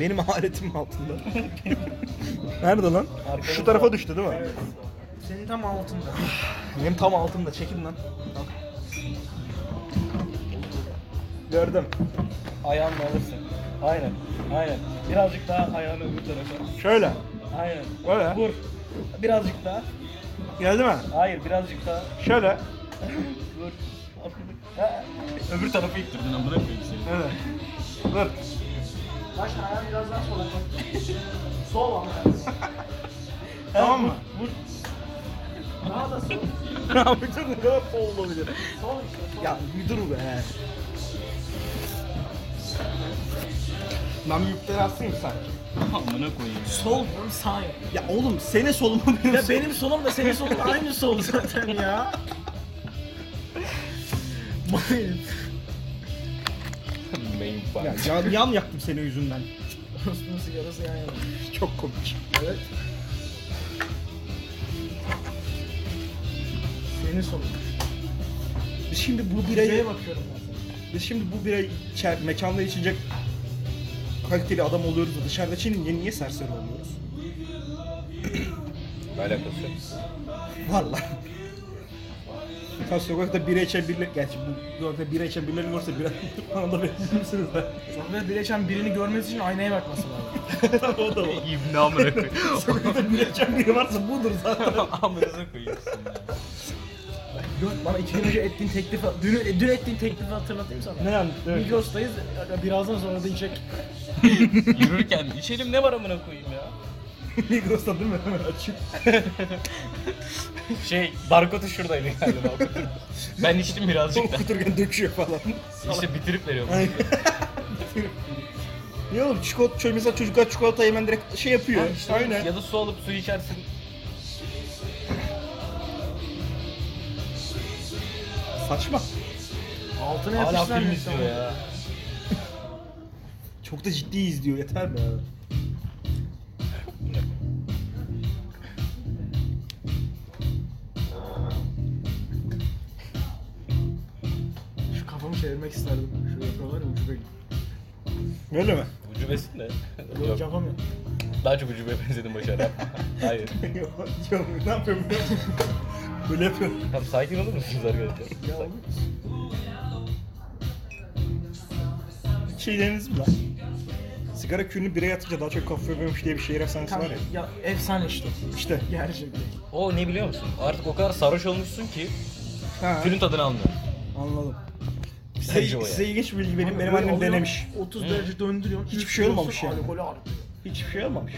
[SPEAKER 2] Benim aletimin altında. Nerede lan? Şu tarafa düştü değil mi?
[SPEAKER 3] Senin tam altında.
[SPEAKER 2] Benim tam altımda. Çekin lan. Al. Gördüm.
[SPEAKER 6] Ayağınla alırsın. Aynen. Aynen. Birazcık daha ayağını öbür tarafa.
[SPEAKER 2] Şöyle.
[SPEAKER 6] Aynen.
[SPEAKER 2] Böyle.
[SPEAKER 6] Vur. Birazcık daha.
[SPEAKER 2] Geldi mi?
[SPEAKER 6] Hayır birazcık daha.
[SPEAKER 2] Şöyle.
[SPEAKER 6] Vur. Ha. öbür tarafa ittirdin amına koyayım seni.
[SPEAKER 2] Evet. Dur.
[SPEAKER 3] Baş ayağı biraz daha sola koy. Sol ama.
[SPEAKER 2] Tamam mı?
[SPEAKER 3] Daha da sol.
[SPEAKER 2] Abi dur ne kadar foul olabilir.
[SPEAKER 3] Sol işte.
[SPEAKER 2] Ya bir dur be.
[SPEAKER 1] Lan büyükleri asayım sanki.
[SPEAKER 6] Amına koyayım.
[SPEAKER 3] Sol diyorum sağ yok.
[SPEAKER 1] Ya oğlum senin solun mu benim
[SPEAKER 3] Ya
[SPEAKER 1] solum?
[SPEAKER 3] benim solum da senin solun aynı sol zaten ya. Bayılın.
[SPEAKER 6] Main
[SPEAKER 2] Ya,
[SPEAKER 6] fight.
[SPEAKER 2] yan, yan yaktım senin yüzünden.
[SPEAKER 3] Osman sigarası yan yana.
[SPEAKER 2] Çok komik.
[SPEAKER 3] Evet. Senin solun.
[SPEAKER 2] Biz şimdi bu
[SPEAKER 3] Bireye
[SPEAKER 2] birayı,
[SPEAKER 3] bakıyorum ben sana.
[SPEAKER 2] biz şimdi bu birayı içer, mekanda içecek kaliteli adam oluyoruz da dışarıda içince niye serseri oluyoruz?
[SPEAKER 6] Ne alakası yok.
[SPEAKER 2] Valla. Tam sokakta bira içen birileri, gerçi bu sokakta bira içen birileri varsa biraz bana da verir misiniz lan?
[SPEAKER 3] Sonra bileşen birini görmesi için aynaya bakması lazım.
[SPEAKER 2] o da var.
[SPEAKER 6] İbni amına koyayım.
[SPEAKER 2] Sokakta bira içen biri varsa budur zaten.
[SPEAKER 6] Amına koyuyorsun ya.
[SPEAKER 3] Dört, bana iki gün önce ettiğin teklifi, dün, dün ettiğin teklifi hatırlatayım sana.
[SPEAKER 2] Ne yani? Evet.
[SPEAKER 3] Migros'tayız, birazdan sonra da içecek.
[SPEAKER 6] Yürürken içelim ne var amına koyayım ya.
[SPEAKER 2] Migros'ta değil mi? Hemen açık.
[SPEAKER 6] Şey barkodu şuradaydı galiba. ben içtim birazcık da.
[SPEAKER 2] Okuturken döküyor falan.
[SPEAKER 6] İşte bitirip veriyorum.
[SPEAKER 2] Aynen. Ya oğlum çikolata, çö- mesela çocuklar çikolata hemen direkt şey yapıyor.
[SPEAKER 6] Abi işte
[SPEAKER 2] Aynen.
[SPEAKER 6] Ya da su alıp su içersin.
[SPEAKER 2] Saçma.
[SPEAKER 3] Altına
[SPEAKER 6] Hala
[SPEAKER 3] yapıştılar
[SPEAKER 6] film
[SPEAKER 3] mı?
[SPEAKER 6] izliyor ya.
[SPEAKER 2] Çok da ciddi izliyor yeter be.
[SPEAKER 3] Şu kafamı çevirmek isterdim. Şu yapıyorlar ya ucuba gidiyor.
[SPEAKER 2] Öyle mi?
[SPEAKER 6] Ucubesin de.
[SPEAKER 3] Yok
[SPEAKER 6] Yok.
[SPEAKER 3] yapamıyorum.
[SPEAKER 6] Daha çok ucube benzedim başarı. Hayır.
[SPEAKER 2] Yok, yok, ne yapıyorum biliyor musun? Böyle yapıyorum.
[SPEAKER 6] Tamam sakin olur musunuz arkadaşlar?
[SPEAKER 3] Ya oğlum.
[SPEAKER 2] Şeyleriniz mi lan? Sigara külünü bireye atınca daha çok kafa yormuş diye bir şehir efsanesi var
[SPEAKER 3] Kanka,
[SPEAKER 2] ya.
[SPEAKER 3] ya efsane işte.
[SPEAKER 2] İşte.
[SPEAKER 3] Gerçekten.
[SPEAKER 6] O ne biliyor musun? Artık o kadar sarhoş olmuşsun ki
[SPEAKER 2] Ha,
[SPEAKER 6] külün tadını almıyor.
[SPEAKER 2] anladım.
[SPEAKER 6] Bence
[SPEAKER 2] Size,
[SPEAKER 6] o
[SPEAKER 2] size
[SPEAKER 6] yani.
[SPEAKER 2] ilginç bir bilgi benim, benim
[SPEAKER 3] Böyle
[SPEAKER 2] annem
[SPEAKER 3] alıyorsun,
[SPEAKER 2] denemiş.
[SPEAKER 3] 30
[SPEAKER 6] Hı.
[SPEAKER 3] derece döndürüyorsun.
[SPEAKER 2] Hiçbir
[SPEAKER 3] üç
[SPEAKER 2] şey
[SPEAKER 3] kilosun,
[SPEAKER 2] olmamış yani.
[SPEAKER 3] Alkolü artıyor.
[SPEAKER 2] Hiçbir şey olmamış.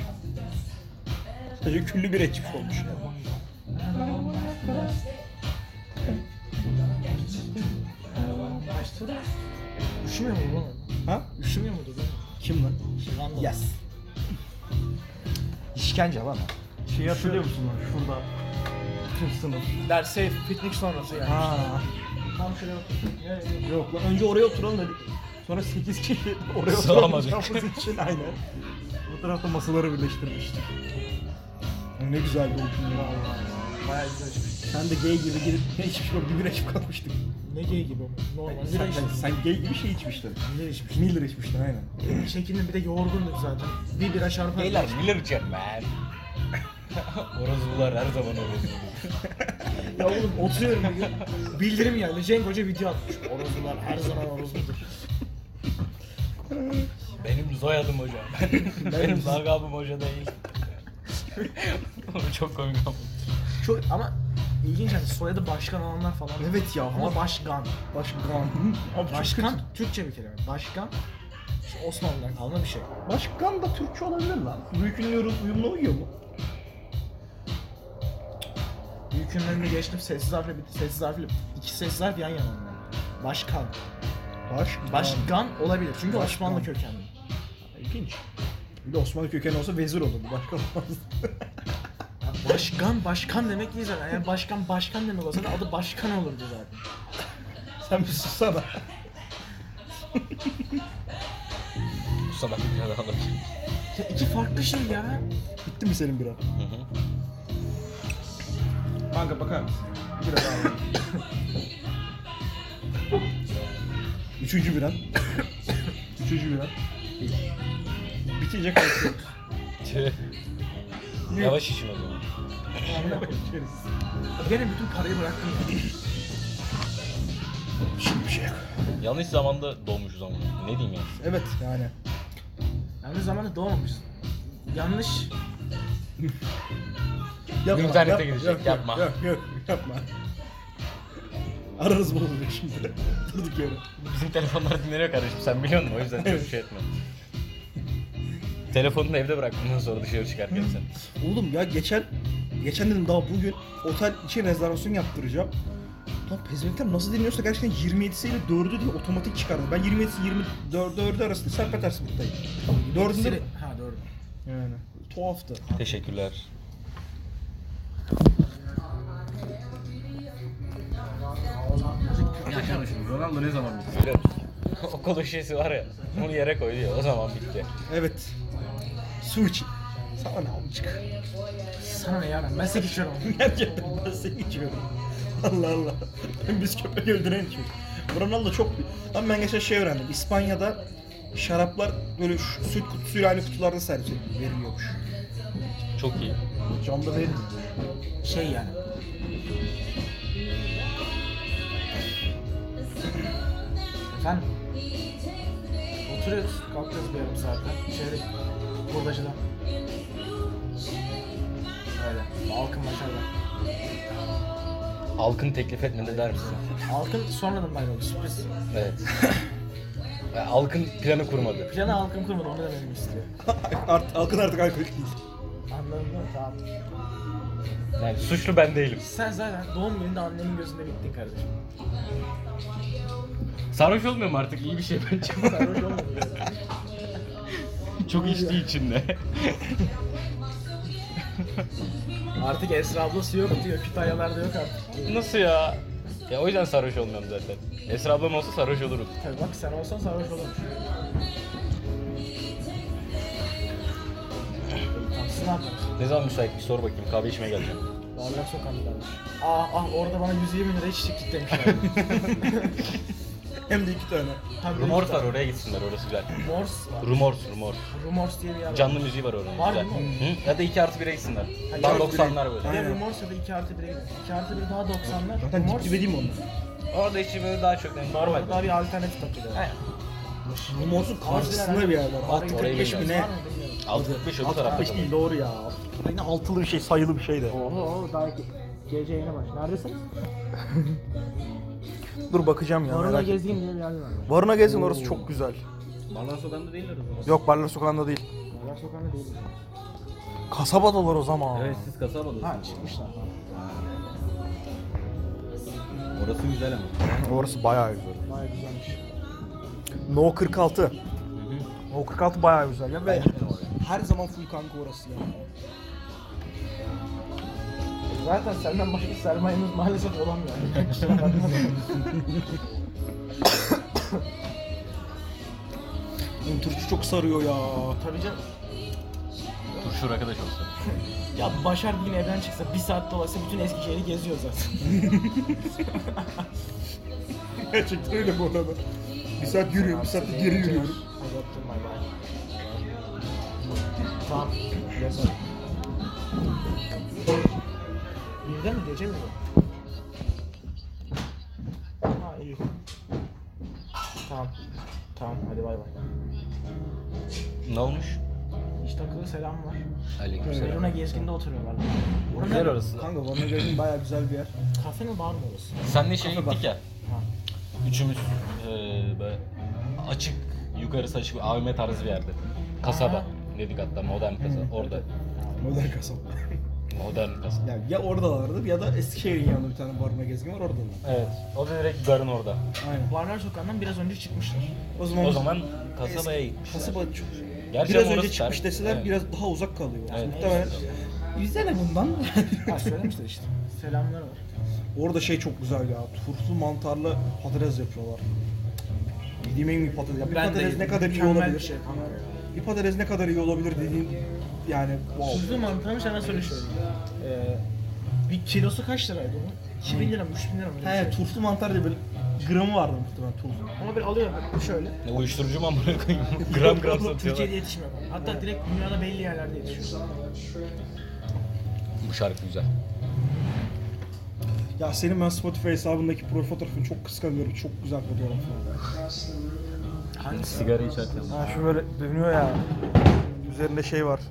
[SPEAKER 2] Sadece küllü bir içmiş olmuş.
[SPEAKER 3] Kaçtı. Üşümüyor mu lan?
[SPEAKER 2] Ha?
[SPEAKER 3] Üşümüyor mudur lan?
[SPEAKER 2] Kim lan?
[SPEAKER 3] Random.
[SPEAKER 2] Yes. İşkence lan.
[SPEAKER 1] Şeyi hatırlıyor musun lan şurada? Tüm sınıf.
[SPEAKER 2] şey,
[SPEAKER 3] Derse piknik sonrası yani.
[SPEAKER 2] Ha.
[SPEAKER 3] Tam şuraya bak. Evet, evet.
[SPEAKER 2] Yok lan önce oraya oturalım dedik. Sonra 8 kişi oraya
[SPEAKER 6] Sığamadık.
[SPEAKER 2] oturacağımız için aynen. Bu tarafta masaları birleştirmiştik. Ne güzel bir okul ya.
[SPEAKER 3] Bayağı güzel açmış.
[SPEAKER 2] Sen de gay gibi girip ne içmiş o bir bira içip kalkmıştık.
[SPEAKER 3] Ne gay gibi ama. Normal. Bira
[SPEAKER 2] Sen, sen,
[SPEAKER 3] içtim.
[SPEAKER 2] sen gay gibi şey içmiştin.
[SPEAKER 3] Bira içmiş.
[SPEAKER 2] Miller içmiştin aynen.
[SPEAKER 3] Şekilde bir de yorgunduk zaten. Bir bira şarpan.
[SPEAKER 6] Beyler Miller içer ben. Orozlular her zaman orozlu.
[SPEAKER 3] Ya oğlum oturuyorum bir gün. Bildirim geldi. Cenk Hoca video atmış. Orozlular her zaman orozludur.
[SPEAKER 6] Benim soyadım hoca. Benim lakabım hoca değil. Oğlum çok komik ama.
[SPEAKER 3] Çok ama ilginç hani soyadı başkan olanlar falan.
[SPEAKER 2] Evet ya,
[SPEAKER 3] Ama
[SPEAKER 2] ama-
[SPEAKER 3] başkan.
[SPEAKER 2] Başkan. Abi
[SPEAKER 3] Başkan Türkçe bir kelime. Başkan işte Osmanlı'dan kalma bir şey.
[SPEAKER 2] Başkan da Türkçe olabilir lan. Büyük ünlü yorum- uyumuna uyuyor mu?
[SPEAKER 3] Büyük ünlerini geçtim sessiz harfle bir sessiz harfle iki sessiz harf yan yana. onlar. Başkan.
[SPEAKER 2] Başkan.
[SPEAKER 3] Başkan olabilir çünkü
[SPEAKER 2] Başkan.
[SPEAKER 3] Osmanlı kökenli.
[SPEAKER 2] İlginç. Bir de Osmanlı kökeni olsa vezir olurdu. Başkan olmaz.
[SPEAKER 3] Ya Başkan başkan demek değil zaten. Eğer başkan başkan demek olsa da adı başkan olurdu zaten.
[SPEAKER 2] Sen bir sussana.
[SPEAKER 6] Bu sabah bir tane daha alabilirim.
[SPEAKER 3] Ya iki farklı şey ya.
[SPEAKER 2] Bitti mi senin bira? Kanka bakar mısın? Bira daha alayım. Üçüncü biran. Üçüncü biran. Bitince kalkıyoruz.
[SPEAKER 6] Tüh. Yavaş işim o zaman.
[SPEAKER 2] İçeriz.
[SPEAKER 3] Gene bütün parayı bıraktım ya.
[SPEAKER 2] Şimdi bir şey yok.
[SPEAKER 6] Yanlış zamanda doğmuşuz ama. Ne diyeyim yani?
[SPEAKER 2] Evet yani.
[SPEAKER 3] Yanlış zamanda doğmamışsın. Yanlış
[SPEAKER 2] Yapma,
[SPEAKER 6] İnternete
[SPEAKER 2] yapma,
[SPEAKER 6] girecek,
[SPEAKER 2] yok,
[SPEAKER 6] yapma.
[SPEAKER 2] Yok, yok, yok, yapma. Ararız bunu bir şimdi. Durduk yere.
[SPEAKER 6] Bizim telefonlar dinleniyor kardeşim sen biliyor musun? O yüzden çok şey etme. Telefonunu evde bırak bundan sonra dışarı çıkarken sen.
[SPEAKER 2] Oğlum ya geçen geçen dedim daha bugün otel için rezervasyon yaptıracağım. Lan pezevenkler nasıl dinliyorsa gerçekten 27'si ile 4'ü diye otomatik çıkardı. Ben 27'si 24'ü arasında serpet arasındayım. 4'ünde...
[SPEAKER 3] Siri- Ha doğru.
[SPEAKER 2] Yani tuhaftı.
[SPEAKER 6] Teşekkürler.
[SPEAKER 7] Ronaldo ne zaman bitti?
[SPEAKER 6] Okul şeysi var ya. Onu yere koy diyor. O zaman bitti.
[SPEAKER 2] Evet. Su için. Sana ne amcık?
[SPEAKER 3] Sana ne ya ben, ben 8 içiyorum.
[SPEAKER 2] Gerçekten ben seni içiyorum. Allah Allah. Biz köpek öldüren içiyoruz. Ronaldo çok büyük. Ama ben geçen şey öğrendim. İspanya'da şaraplar böyle şu- süt kutusuyla aynı kutularda servis ediliyor- veriliyormuş.
[SPEAKER 6] Çok iyi.
[SPEAKER 2] Camda değil.
[SPEAKER 3] Şey yani. Efendim? Oturuyoruz, kalkıyoruz bir yarım saatte. Şöyle buradacıda. Öyle. Halkın başarılı.
[SPEAKER 6] Halkın teklif etmedi der misin?
[SPEAKER 3] Halkın sonradan bayrağı sürpriz.
[SPEAKER 6] Evet. Ya Halkın planı kurmadı.
[SPEAKER 3] Planı halkın kurmadı, onu da benim istiyor.
[SPEAKER 2] Art, halkın artık alkolik değil.
[SPEAKER 3] Anladın mı? Tamam.
[SPEAKER 6] Yani suçlu ben değilim.
[SPEAKER 3] Sen zaten doğum gününde annemin gözünde bittin kardeşim.
[SPEAKER 6] Sarhoş olmuyorum artık iyi bir şey bence.
[SPEAKER 3] Sarhoş olmadın.
[SPEAKER 6] Çok içtiği içinde.
[SPEAKER 3] Artık Esra ablası yok diyor, Kütahyalarda yok artık.
[SPEAKER 6] Nasıl ya? Ya o yüzden sarhoş olmuyorum zaten. Esra ablam olsa sarhoş olurum.
[SPEAKER 3] Tabii bak sen olsan sarhoş olurmuş. Tamsın ne yapıyorsun?
[SPEAKER 6] Ne zaman müsait bir sor bakayım kahve içmeye geleceğim.
[SPEAKER 3] Varlar sokağında kardeş. Ah ah orada bana 120 lira içtik git demişler.
[SPEAKER 2] Hem de iki tane.
[SPEAKER 3] Hem de
[SPEAKER 6] Rumors
[SPEAKER 3] iki
[SPEAKER 6] var
[SPEAKER 3] tane.
[SPEAKER 6] oraya gitsinler orası güzel.
[SPEAKER 3] Rumors var.
[SPEAKER 6] Rumors, Rumors.
[SPEAKER 3] Rumors diye bir yer var.
[SPEAKER 6] Canlı müziği var oranın
[SPEAKER 3] Var
[SPEAKER 6] güzel.
[SPEAKER 3] mı?
[SPEAKER 6] Hı? Ya da 2 artı 1'e gitsinler.
[SPEAKER 3] iki
[SPEAKER 6] Tam
[SPEAKER 3] artı
[SPEAKER 6] 90'lar
[SPEAKER 3] Bir
[SPEAKER 6] böyle.
[SPEAKER 3] de
[SPEAKER 2] Aynen.
[SPEAKER 3] Rumors ya da 2 artı 1'e gidiyor. 2 artı 1 daha 90'lar.
[SPEAKER 2] Zaten dip
[SPEAKER 3] Rumors.
[SPEAKER 2] dibe değil mi onlar?
[SPEAKER 6] Orada içi böyle daha çok yani normal.
[SPEAKER 3] Orada daha bir alternatif takılıyor.
[SPEAKER 6] Aynen.
[SPEAKER 2] Rumorsun karşısında bir yer var. Alt
[SPEAKER 6] Orayı
[SPEAKER 2] 45 mi ne?
[SPEAKER 3] Var mı bilmiyorum.
[SPEAKER 6] 65 o tarafta kalıyor.
[SPEAKER 2] doğru ya. Yine altılı bir şey, sayılı bir şey de.
[SPEAKER 3] Oho daha gece yayına baş. Neredesiniz?
[SPEAKER 2] Dur bakacağım ya.
[SPEAKER 3] Orada
[SPEAKER 2] merak etme.
[SPEAKER 3] gezgin diye bir yer var.
[SPEAKER 2] Varuna gezin orası çok güzel.
[SPEAKER 7] Barlar sokağında değiller o zaman.
[SPEAKER 2] Yok Barlar Sokağı'nda değil.
[SPEAKER 3] Orada sokağında değil.
[SPEAKER 2] Kasabadalar o zaman.
[SPEAKER 7] Evet siz kasabadasınız.
[SPEAKER 3] Ha çıkmışlar.
[SPEAKER 7] Orası güzel ama.
[SPEAKER 2] Orası bayağı güzel.
[SPEAKER 3] Bayağı güzelmiş.
[SPEAKER 2] No 46. No 46 bayağı güzel ya ve her zaman full kanka orası ya.
[SPEAKER 3] Zaten senden başka sermayemiz maalesef olamıyor.
[SPEAKER 2] Turşu çok sarıyor ya.
[SPEAKER 3] Tabii canım.
[SPEAKER 6] Turşur arkadaş olsun.
[SPEAKER 3] Ya Başar bir gün evden çıksa bir saat dolaysa bütün Eskişehir'i geziyor zaten.
[SPEAKER 2] Gerçekten öyle bu arada. Bir saat yürüyorum, bir saat de geri yürüyorum.
[SPEAKER 3] Hadi öptüm, bay bay. Tamam. Yazın. Birde mi gece mi bu? Ha iyi. Tamam. Tamam hadi bay bay.
[SPEAKER 6] Ne olmuş?
[SPEAKER 3] İş takılı selam var.
[SPEAKER 6] Aleykümselam.
[SPEAKER 3] Verona gezginde oturuyorlar.
[SPEAKER 6] Güzel orası.
[SPEAKER 2] Kanka Van'a geldim bayağı güzel bir yer.
[SPEAKER 3] Kafe mi bar mı orası?
[SPEAKER 6] Senle şey gittik ya. Üçümüz eee böyle açık, yukarısı açık bir AVM tarzı bir yerde. Kasaba
[SPEAKER 3] Aha.
[SPEAKER 6] dedik hatta modern kasaba. Orada
[SPEAKER 2] Modern kasaba.
[SPEAKER 6] modern kasaba.
[SPEAKER 2] Ya, ya oradalardır ya da Eskişehir'in yanında bir tane barına gezgin var oradalar.
[SPEAKER 6] Evet. O da direkt garın orada.
[SPEAKER 2] Aynen.
[SPEAKER 3] Varlar sokağından biraz önce çıkmışlar.
[SPEAKER 2] O zaman,
[SPEAKER 6] O zaman kasabaya gitmişler.
[SPEAKER 2] Kasaba çok...
[SPEAKER 6] Gerçi
[SPEAKER 2] biraz
[SPEAKER 6] ama
[SPEAKER 2] önce
[SPEAKER 6] orası
[SPEAKER 2] çıkmış
[SPEAKER 6] ter-
[SPEAKER 2] deseler
[SPEAKER 6] evet.
[SPEAKER 2] biraz daha uzak kalıyor.
[SPEAKER 6] Evet.
[SPEAKER 2] Muhtemelen. Yüzene bundan.
[SPEAKER 3] Ha söylemişler işte. Selamlar var.
[SPEAKER 2] Orada şey çok güzel ya. Turşu mantarlı patates yapıyorlar. Yediğim en iyi patates. Ya bir patates ne kadar iyi
[SPEAKER 3] mükemmel
[SPEAKER 2] olabilir?
[SPEAKER 3] bir şey kanka ya.
[SPEAKER 2] Bir patates ne kadar iyi olabilir dediğin yani wow.
[SPEAKER 3] Tuzlu mantarı sana söyle şöyle. Ee, bir kilosu kaç liraydı onun? 2000 lira mı 3000 lira mı? öyle bir
[SPEAKER 2] He
[SPEAKER 3] şey.
[SPEAKER 2] turşu mantar diye böyle gramı vardı muhtemelen turşu.
[SPEAKER 3] Onu bir alıyorum şöyle.
[SPEAKER 6] Ne uyuşturucu mu amına koyayım? gram gram satıyorlar.
[SPEAKER 3] Türkiye'de yetişmiyor. falan. Hatta direkt dünyada belli yerlerde yetişiyor.
[SPEAKER 6] Bu şarkı güzel.
[SPEAKER 2] Ya senin ben Spotify hesabındaki profil fotoğrafını çok kıskanıyorum. Çok güzel fotoğraf.
[SPEAKER 3] Hangisi?
[SPEAKER 6] Sigara içerken.
[SPEAKER 2] Ha şu böyle dönüyor ya. Üzerinde şey var.